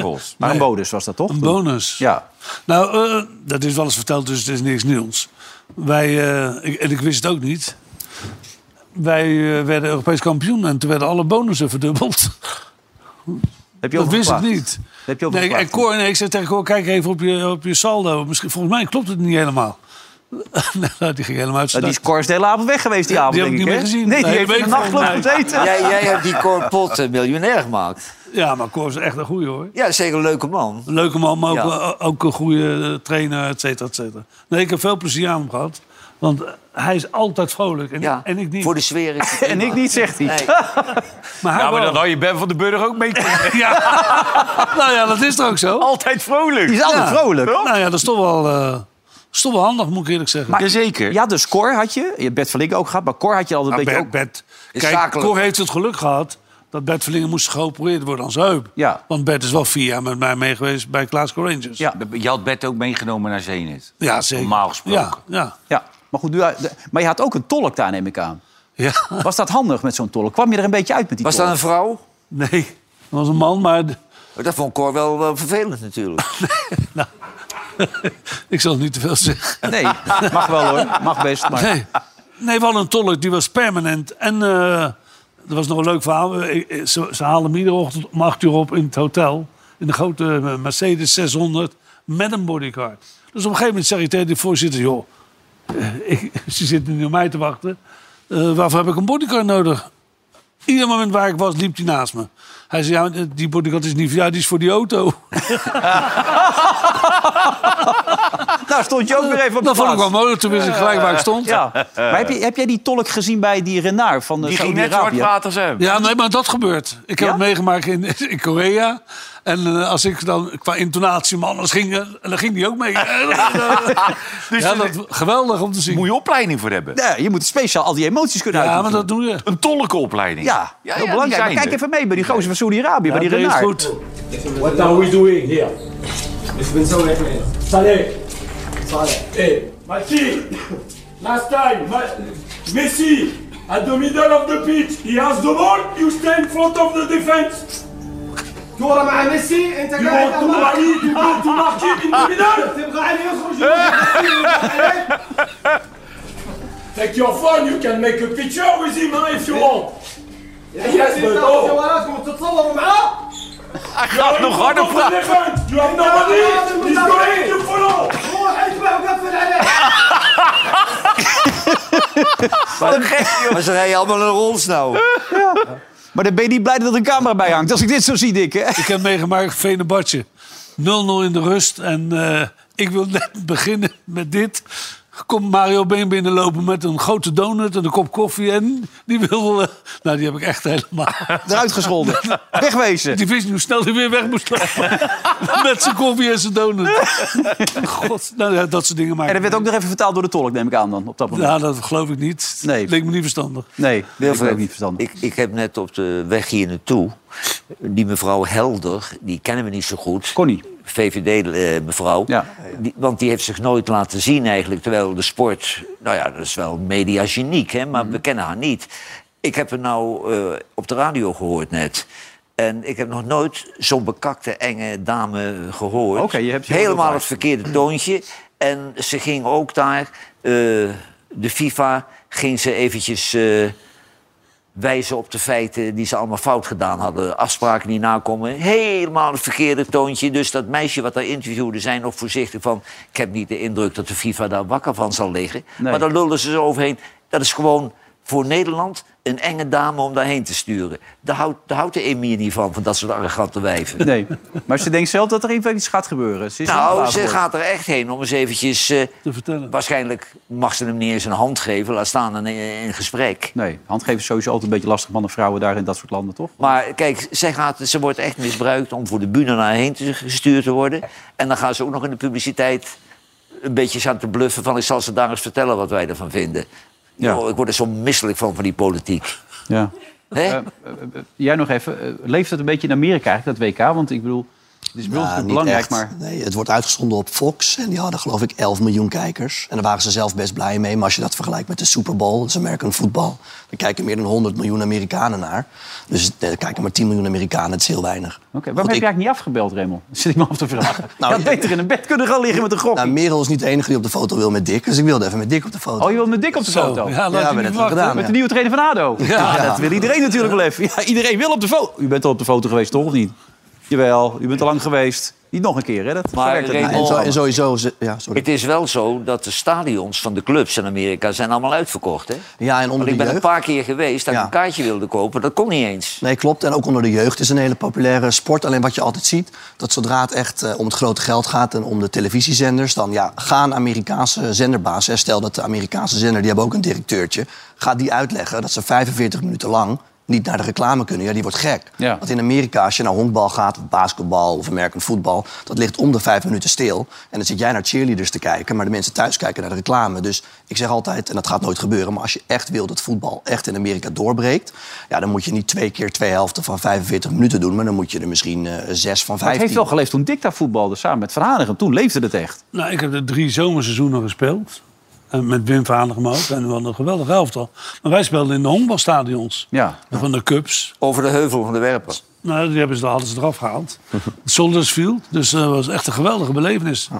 rols. Maar een bonus was dat toch? Een toen? bonus. Ja. Nou, eh, dat is wel eens verteld, dus het is niks nieuws. Wij, eh, ik- en ik wist het ook niet. Wij eh, werden Europees kampioen en toen werden alle bonussen verdubbeld. Heb je Dat over wist ik geklaagd? niet. Heb je over Nee, en geklaagd? Cor, nee, ik zei tegen Cor, kijk even op je, op je saldo. Misschien, volgens mij klopt het niet helemaal. nou, die ging helemaal uit Nou, zijn die is Cors de hele avond weg geweest die avond, heb ik denk niet hè? meer gezien. Nee, die Nee, heeft weet in de ik nachtclub niet. gezeten. Jij, jij hebt die Cor Pot eh, miljonair gemaakt. dak. Ja, maar Cor is echt een goeie hoor. Ja, zeker een leuke man. Een leuke man, maar ook, eh, Ja. ook een goede trainer, et cetera, et cetera. Nee, ik heb veel plezier aan hem gehad. Want hij is altijd vrolijk en, Ja, en ik niet. Voor de sfeer. is het En ik niet, zegt hij. Nee. Maar hij Ja, maar wel. dan had je Ben van den Burg ook mee kunnen. Ja. nou ja, dat is toch ook zo? Altijd vrolijk. Die Oh, is altijd Ja. vrolijk. Nou ja, dat is toch wel, eh, dat is toch wel handig, moet ik eerlijk zeggen. Maar- Jazeker. Ja, dus Cor had je. Je hebt Bert van Linken ook gehad, maar Cor had je altijd een Nou, beetje... Bert, ook- Bert- Is Kijk, zakelijk. Cor heeft het geluk gehad dat Bert Verlingen moest geopereerd worden aan zijn heup. Ja. Want Bert is wel vier jaar met mij mee geweest bij Glasgow Rangers. Ja. Je had Bert ook meegenomen naar Zenit. ja zeker. Normaal gesproken. Ja, ja. Ja, maar goed, nu, maar je had ook een tolk daar, neem ik aan. ja. Was dat handig met zo'n tolk? Kwam je er een beetje uit met die Was dat tolk? een vrouw? Nee, dat was een man, maar d- Dat vond Cor wel eh, vervelend natuurlijk. ik zal het niet te veel zeggen. Nee, mag wel hoor. Mag best. Maar... Nee. nee, we hadden een tolk, die was permanent. En eh, dat was nog een leuk verhaal. Eh, eh, Ze, ze haalden hem iedere ochtend om acht uur op in het hotel. In de grote eh, Mercedes 600 met een bodyguard. Dus op een gegeven moment zeg ik tegen de voorzitter... joh, eh, ik, ze zitten nu op mij te wachten. Eh, waarvoor heb ik een bodyguard nodig? Ieder moment waar ik was, liep hij naast me. Hij zei, ja, maar die bodyguard is niet voor jou, die is voor die auto. Nou, stond je ook weer even op de Dat vond ik wel plaats. mooi, toen wist ik gelijk waar ik stond. Ja. Maar heb, je, heb jij die tolk gezien bij die Renard van de Die ging net zwart Saudi-Arabië? water zijn. Ja, nee, maar dat gebeurt. Ik heb Ja? het meegemaakt in, in Korea. En eh, als ik dan qua intonatie man anders ging, eh, dan ging die ook mee. Dus ja, er dat, geweldig om te zien. moet je opleiding voor hebben. Nee, je moet speciaal al die emoties kunnen ja, maar uitoefenen. dat doe je. Een tolke opleiding. Ja, heel belangrijk. Maar kijk even mee bij die gozer van Saudi-Arabië, bij die dat is Renard. goed. What are we doing here? It's been so long. Saleh. Saleh. Hey, Machi. Last time, Ma- Messi at the middle of the pitch. He has the ball. You stay in front of the defense. كورة مع ميسي انت You قاعد want to الله mark it. You want to mark it in the middle. تبغى علي يخرج يروح. Take your phone. You can make a picture with him huh, if you want. يعني تاخذ جوالاتكم وتتصوروا معاه Gaat nog harder vragen. You have nobody. He's going to follow. روح اتبع وقفل عليه maar ze rijden allemaal een Rolls nou. Maar dan ben je niet blij dat er een camera bij hangt. Als ik dit zo zie, Dick. Hè? Ik heb meegemaakt Venebadje. 0-0 in de rust. En eh, ik wil net beginnen met dit. Komt Mario Been binnenlopen met een grote donut en een kop koffie. En die wil... eh, nou, die heb ik echt helemaal... Eruit gescholden. Wegwezen. Die wist niet hoe snel hij weer weg moest lopen. Met zijn koffie en zijn donut. God, nou ja, dat soort dingen En maken. dat werd ook nog even vertaald door de tolk, neem ik aan dan, op dat moment. Ja, dat geloof ik niet. Nee. Leek me niet verstandig. Nee, dat is ook niet verstandig. Ik, ik heb net op de weg hier naartoe... die mevrouw Helder, die kennen we niet zo goed. Connie. VVD-mevrouw. Ja. want eh, die heeft zich nooit laten Mhm. zien eigenlijk. Terwijl de sport, nou ja, dat is wel media geniek, hè, maar we kennen haar niet. Ik heb hem nou eh, op de radio gehoord net. En ik heb nog nooit zo'n bekakte, enge dame gehoord. Oké, je hebt je Helemaal oordeel het verkeerde toontje. En ze ging ook daar, eh, de FIFA, ging ze eventjes... eh, wijzen op de feiten die ze allemaal fout gedaan hadden. Afspraken die nakomen. Helemaal een verkeerde toontje. Dus dat meisje wat daar interviewde, zijn nog voorzichtig van... ik heb niet de indruk dat de FIFA daar wakker van zal liggen. Nee. Maar daar lullen ze zo overheen. Dat is gewoon voor Nederland een enge dame om daarheen te sturen. Daar houdt, daar houdt de Emir niet van, van dat soort arrogante wijven. Nee, maar ze denkt zelf dat er even iets gaat gebeuren. Ze is niet Nou, klaar ze voor. gaat er echt heen om eens eventjes... eh, Waarschijnlijk mag ze hem niet eens een hand geven. Laat staan een, een gesprek. Nee, handgeven is sowieso altijd een beetje lastig mannen en vrouwen daar in dat soort landen, toch? Maar kijk, zij gaat, ze wordt echt misbruikt om voor de bühne naar heen te, gestuurd te worden. En dan gaan ze ook nog in de publiciteit een beetje staan te bluffen van... ik zal ze daar eens vertellen wat wij ervan vinden. Ja. Oh, ik word er zo misselijk van, van die politiek. Ja. Hè? Eh, Jij nog even, eh, leeft het een beetje in Amerika eigenlijk, dat WK? Want ik bedoel, het is bij ons Nou, natuurlijk niet belangrijk, echt. maar... Nee, het wordt uitgezonden op Fox. En die hadden geloof ik 11 miljoen kijkers. En daar waren ze zelf best blij mee. Maar als je dat vergelijkt met de Super Bowl, dat is American voetbal. Dan kijken meer dan 100 miljoen Amerikanen naar. Dus nee, er kijken maar 10 miljoen Amerikanen. Dat is heel weinig. Oké, waarom heb je eigenlijk niet afgebeld, Raymond? Zit ik me af te vragen. Nou, je had beter in een bed kunnen gaan liggen met een gok. Nou, Merel is niet de enige die op de foto wil met Dick. Dus ik wilde even met Dick op de foto. Oh, je wil met Dick op de Zo, foto? ja, laat Ja, je we niet hebben het verwachten. gedaan, Met ja. de nieuwe trainer van ADO. Ja, Ja. dat wil iedereen natuurlijk wel even. Ja, iedereen wil op de foto. U bent al op de foto geweest, toch? Of niet? Jawel, u bent al lang geweest. Niet nog een keer, hè? Dat Maar werkt het Raymond- niet. En zo- en sowieso... Ja, sorry. Het is wel zo dat de stadions van de clubs in Amerika zijn allemaal uitverkocht. Hè? Ja, en onder Want ik de ben een jeugd. paar keer geweest dat ik een kaartje wilde kopen. Dat kon niet eens. Nee, klopt. En ook onder de jeugd is een hele populaire sport. Alleen wat je altijd ziet, dat zodra het echt eh, om het grote geld gaat... en om de televisiezenders, dan ja, gaan Amerikaanse zenderbaas... Hè, stel dat de Amerikaanse zender, die hebben ook een directeurtje... gaat die uitleggen dat ze 45 minuten lang niet naar de reclame kunnen. Ja, die wordt gek. Ja. Want in Amerika, als je naar honkbal gaat, of basketbal of American voetbal... dat ligt om de vijf minuten stil. En dan zit jij naar cheerleaders te kijken... maar de mensen thuis kijken naar de reclame. Dus ik zeg altijd, en dat gaat nooit gebeuren... maar als je echt wil dat voetbal echt in Amerika doorbreekt... Ja, dan moet je niet twee keer twee helften van 45 minuten doen... maar dan moet je er misschien eh, zes van Maar het 15. heeft wel geleefd toen Dick daar voetbalde, samen met Van Hanegem. Toen leefde het echt. Nou, ik heb er drie zomerseizoenen gespeeld. En met Wim van Hanegem ook. En we hadden een geweldig elftal. Maar wij speelden in de honkbalstadions. Ja. Van de Cups. Over de heuvel van de Werper. Nou, die hebben ze, hadden ze eraf gehaald. Soldersfield. Dus dat was echt een geweldige belevenis. Ah,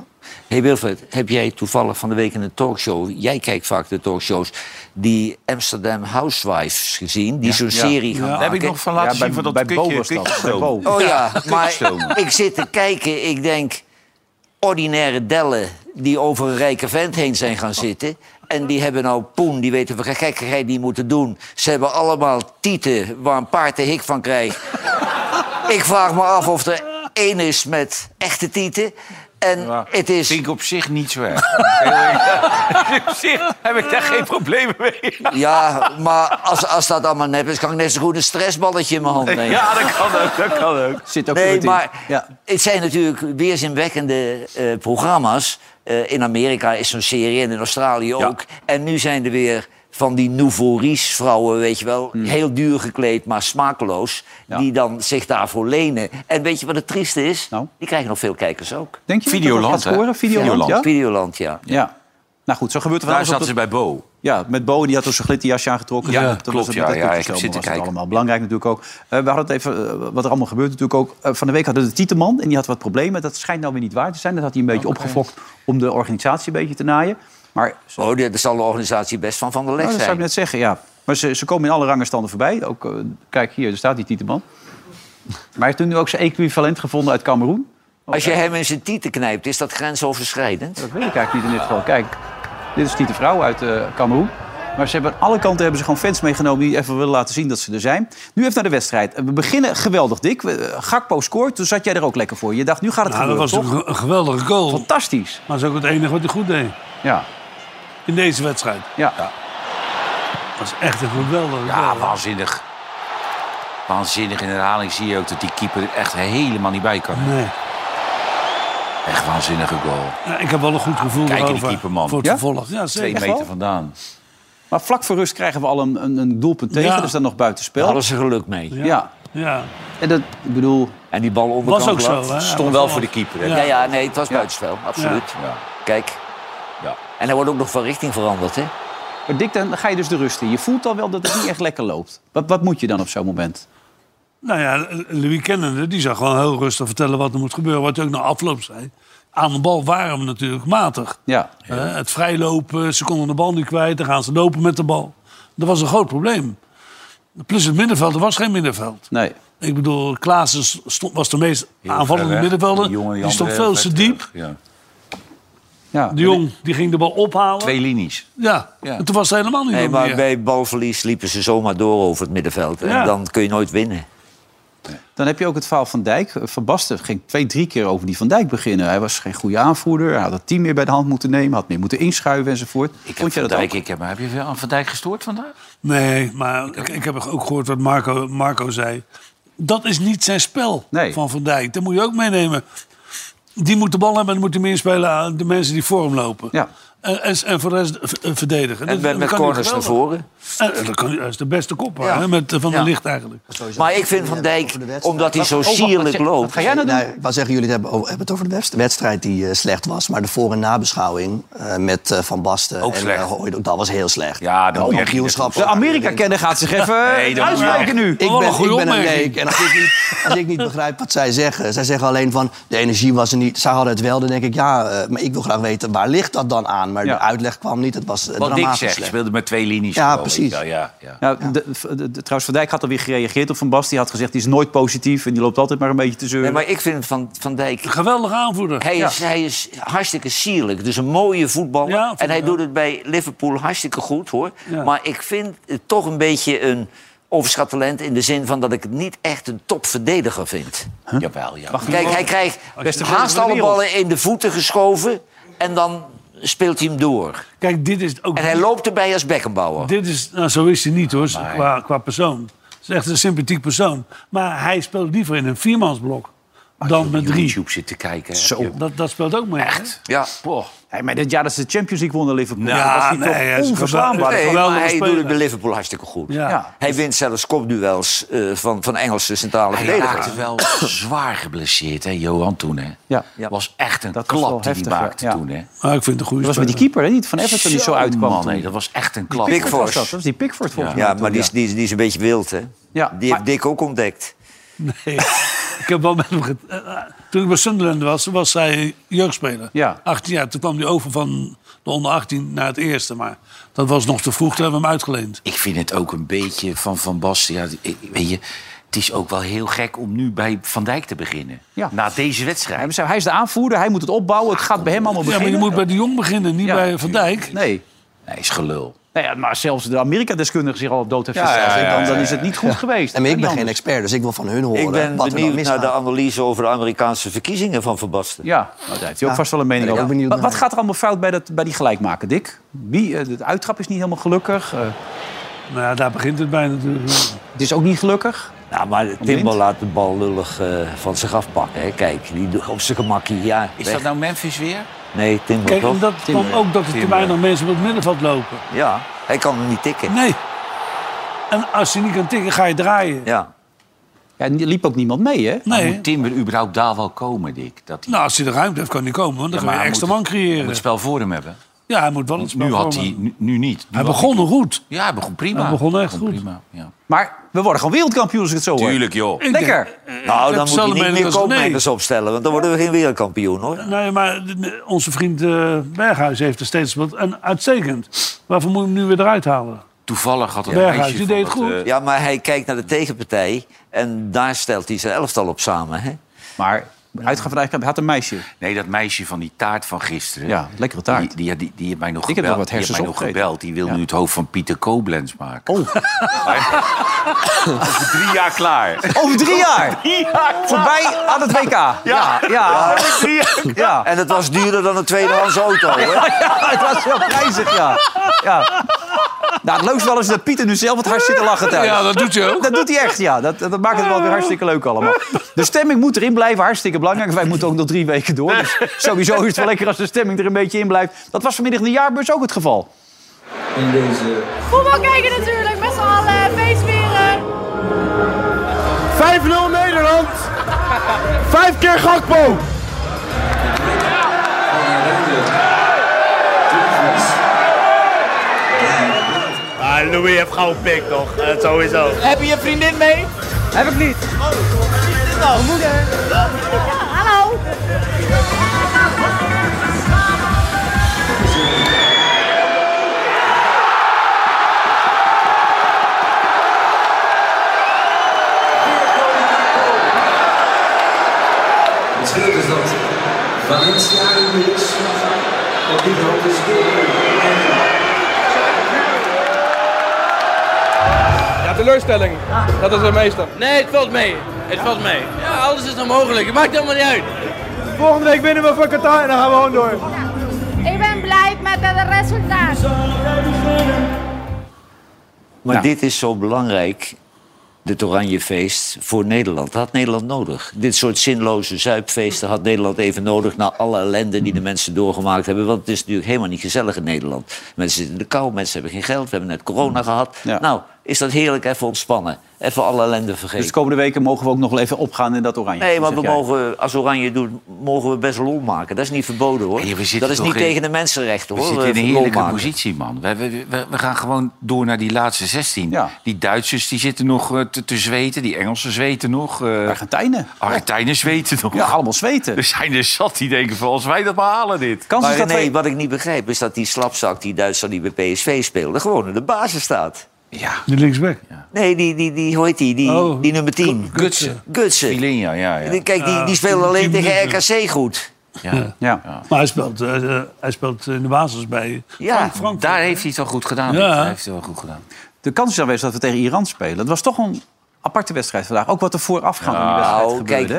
Hey Wilfred, heb jij toevallig van de week in een talkshow... jij kijkt vaak de talkshows, die Amsterdam Housewives gezien... die zo'n serie gaan Daar maken? heb ik nog van laten zien van dat kutje, kutjesdoom. Oh ja, maar Kutjesdoom. ik zit te kijken, ik denk... ordinaire dellen die over een rijke vent heen zijn gaan zitten... en die hebben nou poen, die weten wat gekkigheid die moeten doen. Ze hebben allemaal tieten waar een paard de hik van krijgt. ik vraag me af of er één is met echte tieten... En het is... Vind ik op zich niet zo erg. op zich heb ik daar geen problemen mee. Ja, maar als, als dat allemaal nep is, kan ik net zo goed een stressballetje in mijn hand nemen. Ja, dat kan ook, dat kan ook. Zit ook Nee, goed in. maar Ja. het zijn natuurlijk weerzinwekkende eh, programma's. Eh, in Amerika is zo'n serie en in Australië ook. En nu zijn er weer van die nouveau riche vrouwen, weet je wel. Hmm. Heel duur gekleed, maar smakeloos. Die dan zich daarvoor lenen. En weet je wat het trieste is? Nou? Die krijgen nog veel kijkers ook. Denk je Videoland, dat dat gaat hè? scoren? Videoland, Videoland. ja? Videoland, ja. Ja. Nou goed, zo gebeurt er van Daar alles op zaten de- ze bij Bo. Ja, met Bo, die had dus een glitterjasje aangetrokken. Ja, Dat was klopt, het- ja, dat ja, ik heb toetsen zitten was het kijken. allemaal belangrijk natuurlijk ook. Eh, we hadden het even, eh, wat er allemaal gebeurt natuurlijk ook. Eh, van de week hadden we de Tieteman en die had wat problemen. Dat schijnt nou weer niet waar te zijn. Dat had hij een beetje opgefokt om de organisatie een beetje te naaien. Maar Oh, daar zal de organisatie best van van de leg nou, dat zou zijn. ik net zeggen, ja. Maar ze, ze komen in alle rangenstanden voorbij. Ook, eh, kijk, hier, daar staat die Tieteman. Maar hij heeft toen nu ook zijn equivalent gevonden uit Cameroen. Als je hem in zijn tieten knijpt, is dat grensoverschrijdend? Dat weet ik eigenlijk niet in dit geval. Kijk, dit is Tiete Vrouw uit eh Cameroen. Maar ze hebben aan alle kanten hebben ze gewoon fans meegenomen die even willen laten zien dat ze er zijn. Nu even naar de wedstrijd. Eh, We beginnen geweldig, Dick. We- eh, Gakpo scoort, toen zat jij er ook lekker voor. Je dacht, nu gaat het Nou, dat was gebeuren, toch? een, ge- een geweldige goal. Fantastisch. Maar dat is ook het enige wat hij goed deed. Ja. In deze wedstrijd. Ja. Dat was echt een geweldige Ja, goal. waanzinnig. Waanzinnig. In herhaling zie je ook dat die keeper er echt helemaal niet bij kan. Nee. Echt waanzinnige goal. Ja, ik heb wel een goed gevoel Kijk in die erover. keeper, man. Voor het vervolg. Ja, Twee zeker. meter vandaan. Maar vlak voor rust krijgen we al een, een, een doelpunt tegen. Ja. Dat is dan nog buitenspel. Daar hadden ze geluk mee. Ja. Ja. En dat, ik bedoel... En die bal onderkant Was ook zo, lat. hè? Stond wel voor de keeper. hè? Ja, ja, nee, het was buitenspel, absoluut. Ja. Kijk. Ja. En hij wordt ook nog van richting veranderd, hè? Maar Dick, dan ga je dus de rust in. Je voelt dan wel dat het niet echt lekker loopt. Wat, wat moet je dan op zo'n moment? Nou ja, Louis Kennende, die zou gewoon heel rustig vertellen wat er moet gebeuren. Wat hij ook na afloop zei. Aan de bal waren we natuurlijk matig. Ja. Eh, het vrijlopen, ze konden de bal niet kwijt. Dan gaan ze lopen met de bal. Dat was een groot probleem. Plus het middenveld, er was geen middenveld. Nee. Ik bedoel, Klaassen s- stond, was de meest ver aanvallende weg. middenvelder. Die jongen, Die, die stond andere veel te werd, eh, diep. Ja. De jong die ging de bal ophalen. Twee linies. Ja, Ja. en toen was het helemaal niet Nee, meer. maar bij balverlies liepen ze zomaar door over het middenveld. En Ja. dan kun je nooit winnen. Dan heb je ook het verhaal van Dijk. Eh, Van Basten ging twee, drie keer over die Van Dijk beginnen. Hij was geen goede aanvoerder. Hij had het team meer bij de hand moeten nemen. Had meer moeten inschuiven enzovoort. Ik heb Vond je Van dat Dijk, ook? ik heb, heb je veel aan Van Dijk gestoord vandaag? Nee, maar ik, ik heb ook gehoord wat Marco, Marco zei. Dat is niet zijn spel van Van Dijk. Dat moet je ook meenemen. Die moet de bal hebben en dan moet hij meer spelen aan de mensen die voor hem lopen. En, en, en voor de rest v- eh, En verdedigen. Dat- met- dat met kan hij corners naar geweldig. En, en dat kan hij- hij is de beste kopper Ja. hè, met eh, Van der Ja. Licht eigenlijk. Maar ik vind Van Dijk, omdat nou, hij zo sierlijk loopt... Nee, ik wou nou, zeggen, jullie hebben, oh, hebben het over de wedst- wedstrijd die eh, slecht was. Maar de voor- en nabeschouwing eh, met eh, Van Basten Ook en slecht. eh, Hooydonk, dat was heel slecht. Ja, moet je echt niet De Oh, Amerika-kenner gaat zich even eh, uitspreken nu. Ik ben, ik ben een leek. En als ik, niet, als ik niet begrijp wat zij zeggen... Zij zeggen alleen van, de energie was er niet. Zij hadden het wel, dan denk ik, ja, eh, maar ik wil graag weten... waar ligt dat dan aan? Maar de uitleg kwam niet. Het was eh, Wat Dick dramatisch zegt, je slecht. speelde met twee linies. Ja, gewoon, weet je precies. wel, Ja, ja. Nou, de, de- de- trouwens, Van Dijk had alweer gereageerd op Van Basten. Die had gezegd, die is nooit positief en die loopt altijd maar een beetje te zeuren. maar ik vind Van, van Dijk... Een geweldige aanvoerder. Hij is, hij is hartstikke sierlijk. Dus een mooie voetballer. en hij doet het bij Liverpool hartstikke goed, hoor. Ja. Maar ik vind het toch een beetje een overschat talent... in de zin van dat ik het niet echt een topverdediger vind. Jawel, ja. Kijk, hij krijgt Beste haast van de alle wereld. ballen in de voeten geschoven... en dan speelt hij hem door. Kijk, dit is ook... En hij loopt erbij als bekkenbouwer. Dit is, nou, zo is hij niet hoor, qua, qua persoon. Het is echt een sympathiek persoon. Maar hij speelt liever in een viermansblok dan met drie. YouTube zit te kijken. Zo. Dat, dat speelt ook mee. Echt? Ja. Hey, maar dit jaar dat ze de Champions League wonnen Liverpool. Nou, dat was die nee, hij toch is onverslaanbaar. Nee, Geweldige maar hij speler. doet het bij Liverpool hartstikke goed. Ja. Ja. Hij wint zelfs kopduels eh, van, van Engelse centrale Hij verdedigers. raakte wel zwaar geblesseerd, hè, Johan, toen. Hè. Ja. Was echt een was wel klap die hij heftig, ja. maakte Ja. toen. Hè. Maar ik vind het een goede Dat was met speler. die keeper, hè, die van Everton die zo uitkwam Man, toen. nee, dat was echt een Die klap. Pickford was Pickford. dat. Dat was die Pickford volgens mij. Ja, toen, maar die is, die, is, die is een beetje wild, hè? Ja, die heeft Dick ook ontdekt. Nee. ik heb wel met hem get- eh, eh, Toen ik bij Sunderland was, was zij jeugdspeler. Ja. 18 jaar. Toen kwam hij over van de onder 18 naar het eerste. Maar dat was nog te vroeg. Toen hebben we hem uitgeleend. Ik vind het ook een beetje van Van Basten. Ja, ik- weet je, het is ook wel heel gek om nu bij Van Dijk te beginnen. Ja. Na deze wedstrijd. Hij zei, Hij is de aanvoerder, hij moet het opbouwen. Het gaat bij hem allemaal Ja, beginnen. maar je moet bij de jong beginnen, niet bij Van Dijk. Nee. Nee, is gelul. Nou ja, maar zelfs de Amerika-deskundige zich al op dood heeft Ja, gesteld. ja, ja, dan, dan ja, is het niet goed geweest. En ik Kan ben niet geen anders. expert, dus ik wil van hun horen Ik ben wat er dan benieuwd naar misgaat. de analyse over de Amerikaanse verkiezingen van Van Basten. Ja, nou, daar heeft hij ook Ja, vast wel een mening ben ik over. ook benieuwd Wat, wat naar. gaat er allemaal fout bij, dat, bij die gelijkmaker, Dick? Wie, eh, de uittrap is niet helemaal gelukkig. eh, Nou, ja, daar begint het bij natuurlijk. het is ook niet gelukkig. Nou, maar Timbal laat de bal lullig eh, van zich afpakken. Hè. Kijk, die doet op zijn gemakkie. Ja, Is weg. dat nou Memphis weer? Nee, Timbal Kijk, toch? en dat kwam ook dat er te weinig mensen op het middenveld lopen. Ja, hij kan hem niet tikken. Nee. En als je niet kan tikken, ga je draaien. Ja. Ja, en er liep ook niemand mee, hè? Maar Nee. Moet Timber überhaupt daar wel komen, Dick? Dat hij, Nou, als hij de ruimte heeft, kan hij komen. Nou, Want dan maar ga je hij extra moet man hij creëren. moet het spel voor hem hebben. Ja, hij moet wel het spel Nu had hij, vormen. nu, nu niet. Nu Hij had begon er goed. Ja, hij begon prima. Hij begon echt goed. Prima, ja. Maar we worden gewoon wereldkampioen als ik het zo hoor. Tuurlijk, joh. Ik Lekker. denk, Nou, eh, ik dan heb moet je dezelfde niet mening meer als René. koopmijners opstellen, want dan worden we geen wereldkampioen, hoor. Nee, maar de- de- onze vriend eh, Berghuis heeft er steeds wat. En uitstekend. Waarvoor moet je hem nu weer eruit halen? Toevallig had het Ja. meisje Berghuis, die deed van het dat, goed. eh, Ja, maar hij kijkt naar de tegenpartij en daar stelt hij zijn elftal op samen. Hè? Maar uitgaan van eigenlijk had een meisje. nee, dat meisje van die taart van gisteren. Ja, lekkere taart. Die, die, die, die heeft mij nog Ik heb gebeld. nog wat die heeft mij hersens nog opgegeten. gebeld. Die wil Ja. nu het hoofd van Pieter Koblenz maken. Oh. Over drie jaar klaar. Over drie jaar. Voorbij aan het WK. Ja, ja. ja. ja. En het was duurder dan een tweedehands auto. Hè? het was wel prijzig, ja. ja. Nou, het leukste wel is dat Pieter nu zelf het hard zit te lachen thuis. Ja, dat doet hij ook. Dat doet hij echt, ja. Dat, dat maakt het wel weer hartstikke leuk allemaal. De stemming moet erin blijven, hartstikke belangrijk. Wij moeten ook nog drie weken door. Dus sowieso is het wel lekker als de stemming er een beetje in blijft. Dat was vanmiddag in de jaarbeurs ook het geval. In deze Voetbal kijken natuurlijk, met z'n allen, feestvieren. 5-0 Nederland. Vijf keer Gakpo. je hebt gewoon pik toch? Het sowieso. Heb je je vriendin mee? Heb ik niet. Oh, wat is dit nou? Moeder. Hallo. Het scheelt is dat Valencia in de is, want die hand is Ja, teleurstelling. Dat is het meeste. Nee, het valt mee. Het valt mee. Ja, alles is nog mogelijk. Het maakt helemaal niet uit. Volgende week winnen we van Qatar en dan gaan we gewoon door. Ik ben blij met het resultaat. Maar Nou. dit is zo belangrijk, dit Oranjefeest, voor Nederland. Dat had Nederland nodig. Dit soort zinloze zuipfeesten had Nederland even nodig... na alle ellende die de mensen doorgemaakt hebben. Want het is natuurlijk helemaal niet gezellig in Nederland. Mensen zitten in de kou, mensen hebben geen geld. We hebben net Mm. corona gehad. Nou, is dat heerlijk even ontspannen. Even alle ellende vergeten. Dus de komende weken mogen we ook nog wel even opgaan in dat oranje. Nee, maar we zeg jij. mogen, als Oranje doet, mogen we best lol maken. Dat is niet verboden, hoor. dat is toch niet in- tegen de mensenrechten, We hoor. zitten in eh, een lol heerlijke maken. positie, man. We, we, we, we gaan gewoon door naar die laatste 16. Die Duitsers die zitten nog eh, te, te zweten. Die Engelsen zweten nog. eh, Argentijnen. Argentijnen zweten nog. Ja, allemaal zweten. Er Dus- zijn er zat die denken van, als wij dat maar halen dit. maar nee, wat ik niet begrijp is dat die slapzak, die Duitser die bij PSV speelde, gewoon in de basis staat. De linksback. Nee, die, die, die hoe heet die? Die, Oh, die nummer 10. Gutsen. Gutsen. ja, ja. Die- Kijk, die, Ja, die speelde alleen 10 tegen minuten. RKC goed. Ja. Ja. Maar hij speelt, eh, eh, hij speelt in de basis bij Ja, daar heeft hij het wel goed gedaan. Ja. Hij heeft het wel goed gedaan. De kans is aanwezig dat we tegen Iran spelen. Dat was toch een aparte wedstrijd vandaag. Ook wat er voorafgaand aan die wedstrijd Nou, gebeurde.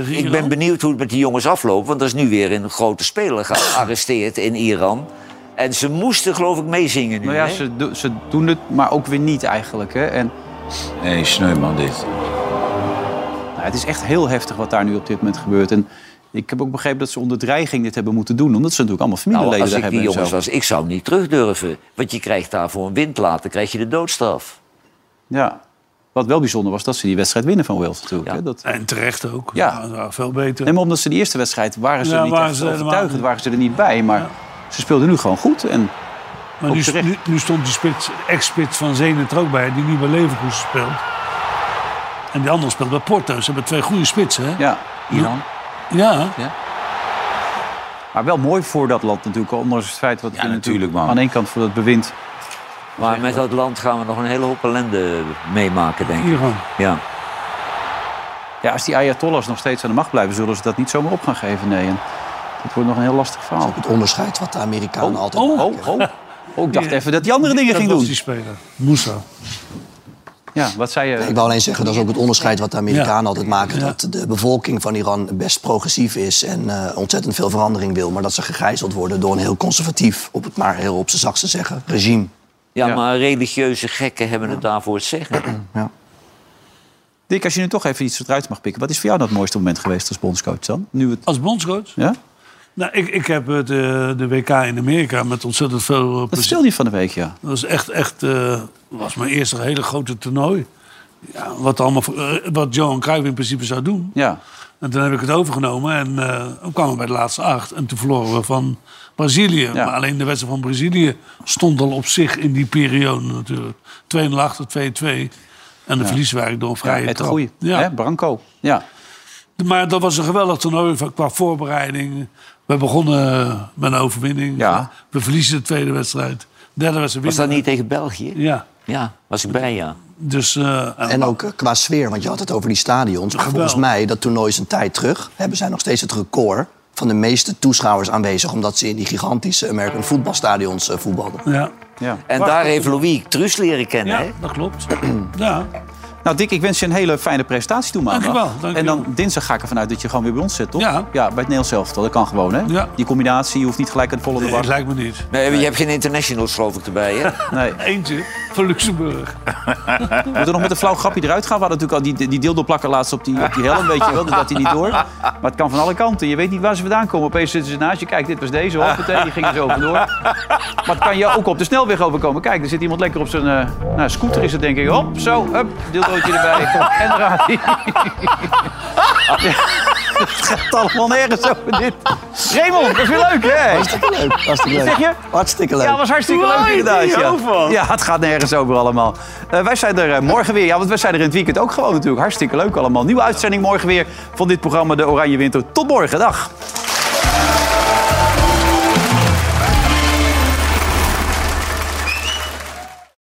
kijk, die, ik ben benieuwd hoe het met die jongens afloopt. Want dat is nu weer een grote speler gearresteerd in Iran. En ze moesten, geloof ik, meezingen nu. Nou ja, hè? ze, do- ze doen het, maar ook weer niet eigenlijk. Hè? En, nee, sneu man, dit. Nou, het is echt heel heftig wat daar nu op dit moment gebeurt. En ik heb ook begrepen dat ze onder dreiging dit hebben moeten doen. Omdat ze natuurlijk allemaal Nou, familieleden als daar ik die hebben. en jongens zo. was, ik zou hem niet terug durven. Want je krijgt daar voor een windlater krijg je de doodstraf. Ja. Wat wel bijzonder was, dat ze die wedstrijd winnen van Wales natuurlijk. Hè? Dat... En terecht ook. Ja. veel beter. Nee, maar omdat ze die eerste wedstrijd waren ze Ja, niet waren echt ze helemaal overtuigend, niet. waren ze er niet bij. Maar ze speelden nu gewoon goed. En Maar ook nu, terecht. nu, nu stond die spits, ex-spits van Zenit er ook bij, die nu bij Leverkusen speelt. En die andere speelt bij Porto. Ze hebben twee goede spitsen, hè? Ja, Iran. Ja. Maar wel mooi voor dat land natuurlijk, ondanks het feit wat we natuurlijk aan één kant voor dat bewind. Maar met dat land gaan we nog een hele hoop ellende meemaken, denk ik. Iran. Ja. Ja, als die Ayatollahs nog steeds aan de macht blijven, zullen ze dat niet zomaar op gaan geven. Nee, en dat wordt nog een heel lastig verhaal. Het onderscheid wat de Amerikanen altijd oh, oh, oh. Oh, ik dacht even dat die andere dingen Dat ging was doen. die speler. Moussa. Ja, wat zei je? Ik wou alleen zeggen, dat is ook het onderscheid wat de Amerikanen altijd maken. Ja. Dat de bevolking van Iran best progressief is en eh, ontzettend veel verandering wil. Maar dat ze gegijzeld worden door een heel conservatief, op het maar heel op zijn zachtst te zeggen, regime. Ja, maar religieuze gekken hebben het daarvoor te zeggen. Dick, als je nu toch even iets eruit mag pikken. Wat is voor jou nou het mooiste moment geweest als bondscoach dan? Nu het... Als bondscoach? Ja? Nou, ik, ik heb eh, de, de WK in Amerika met ontzettend veel eh, Dat plezier. vertelde je van de week, ja. Dat was echt, echt eh, was mijn eerste hele grote toernooi. Ja, wat, allemaal, voor- eh, wat Johan Cruijff in principe zou doen. Ja. En toen heb ik het overgenomen en eh, we kwamen bij de laatste acht. En toen verloren we van Brazilië. Maar alleen de wedstrijd van Brazilië stond al op zich in die periode natuurlijk. 2-0 achter, 2-2. En de Ja. verliezen waren door een vrije ja, met de trap. goeie. Ja. Hè, Branco. Ja. Maar dat was een geweldig toernooi van- qua voorbereiding. We begonnen met een overwinning. We verliezen de tweede wedstrijd. Derde wedstrijd Was dat winnen niet tegen België? we. Ja. Ja, was ik bij, ja. Dus, en, ook eh, qua sfeer, want je had het over die stadions. Maar volgens mij, dat toernooi is een tijd terug, hebben zij nog steeds het record van de meeste toeschouwers aanwezig. Omdat ze in die gigantische American voetbalstadions eh, voetbalden. Ja. ja. En daar heeft Louis Truus leren kennen, hè? Dat klopt. Ja. Nou, Dick, ik wens je een hele fijne presentatie toe maandag. Dank je wel, dank en je dan dinsdag ga ik ervan uit dat je gewoon weer bij ons zit, toch? Ja. bij het Nederlands elftal. Dat kan gewoon, hè? Ja. Die combinatie, je hoeft niet gelijk aan de volgende Nee, bar. dat lijkt me niet. Nee, je hebt geen internationals, geloof ik, erbij, hè? Nee. Eentje van Luxemburg. We moeten nog met een flauw grapje eruit gaan. We hadden natuurlijk al die, die dildoplakker laatst op die, op die helm, weet je wel. Dat had hij niet door. Maar het kan van alle kanten. Je weet niet waar ze vandaan komen. Opeens zitten ze naast je. Kijk, dit was deze. Hoppatee, die ging er zo vandoor. Maar het kan je ook op de snelweg overkomen. Kijk, er zit iemand lekker op zijn eh, nou, scooter is het denk ik. Hop, zo, hup, dildootje erbij. En raad. Het gaat allemaal nergens over dit. Raymond, dat is weer leuk, hè? Hartstikke leuk. Hartstikke Wat leuk. zeg je? Hartstikke leuk. Ja, was hartstikke leuk inderdaad. Ja. ja, het gaat nergens over allemaal. Eh, wij zijn er eh, morgen weer. Ja, want wij zijn er in het weekend ook gewoon natuurlijk. Hartstikke leuk allemaal. Nieuwe uitzending morgen weer van dit programma De Oranje Winter. Tot morgen. Dag.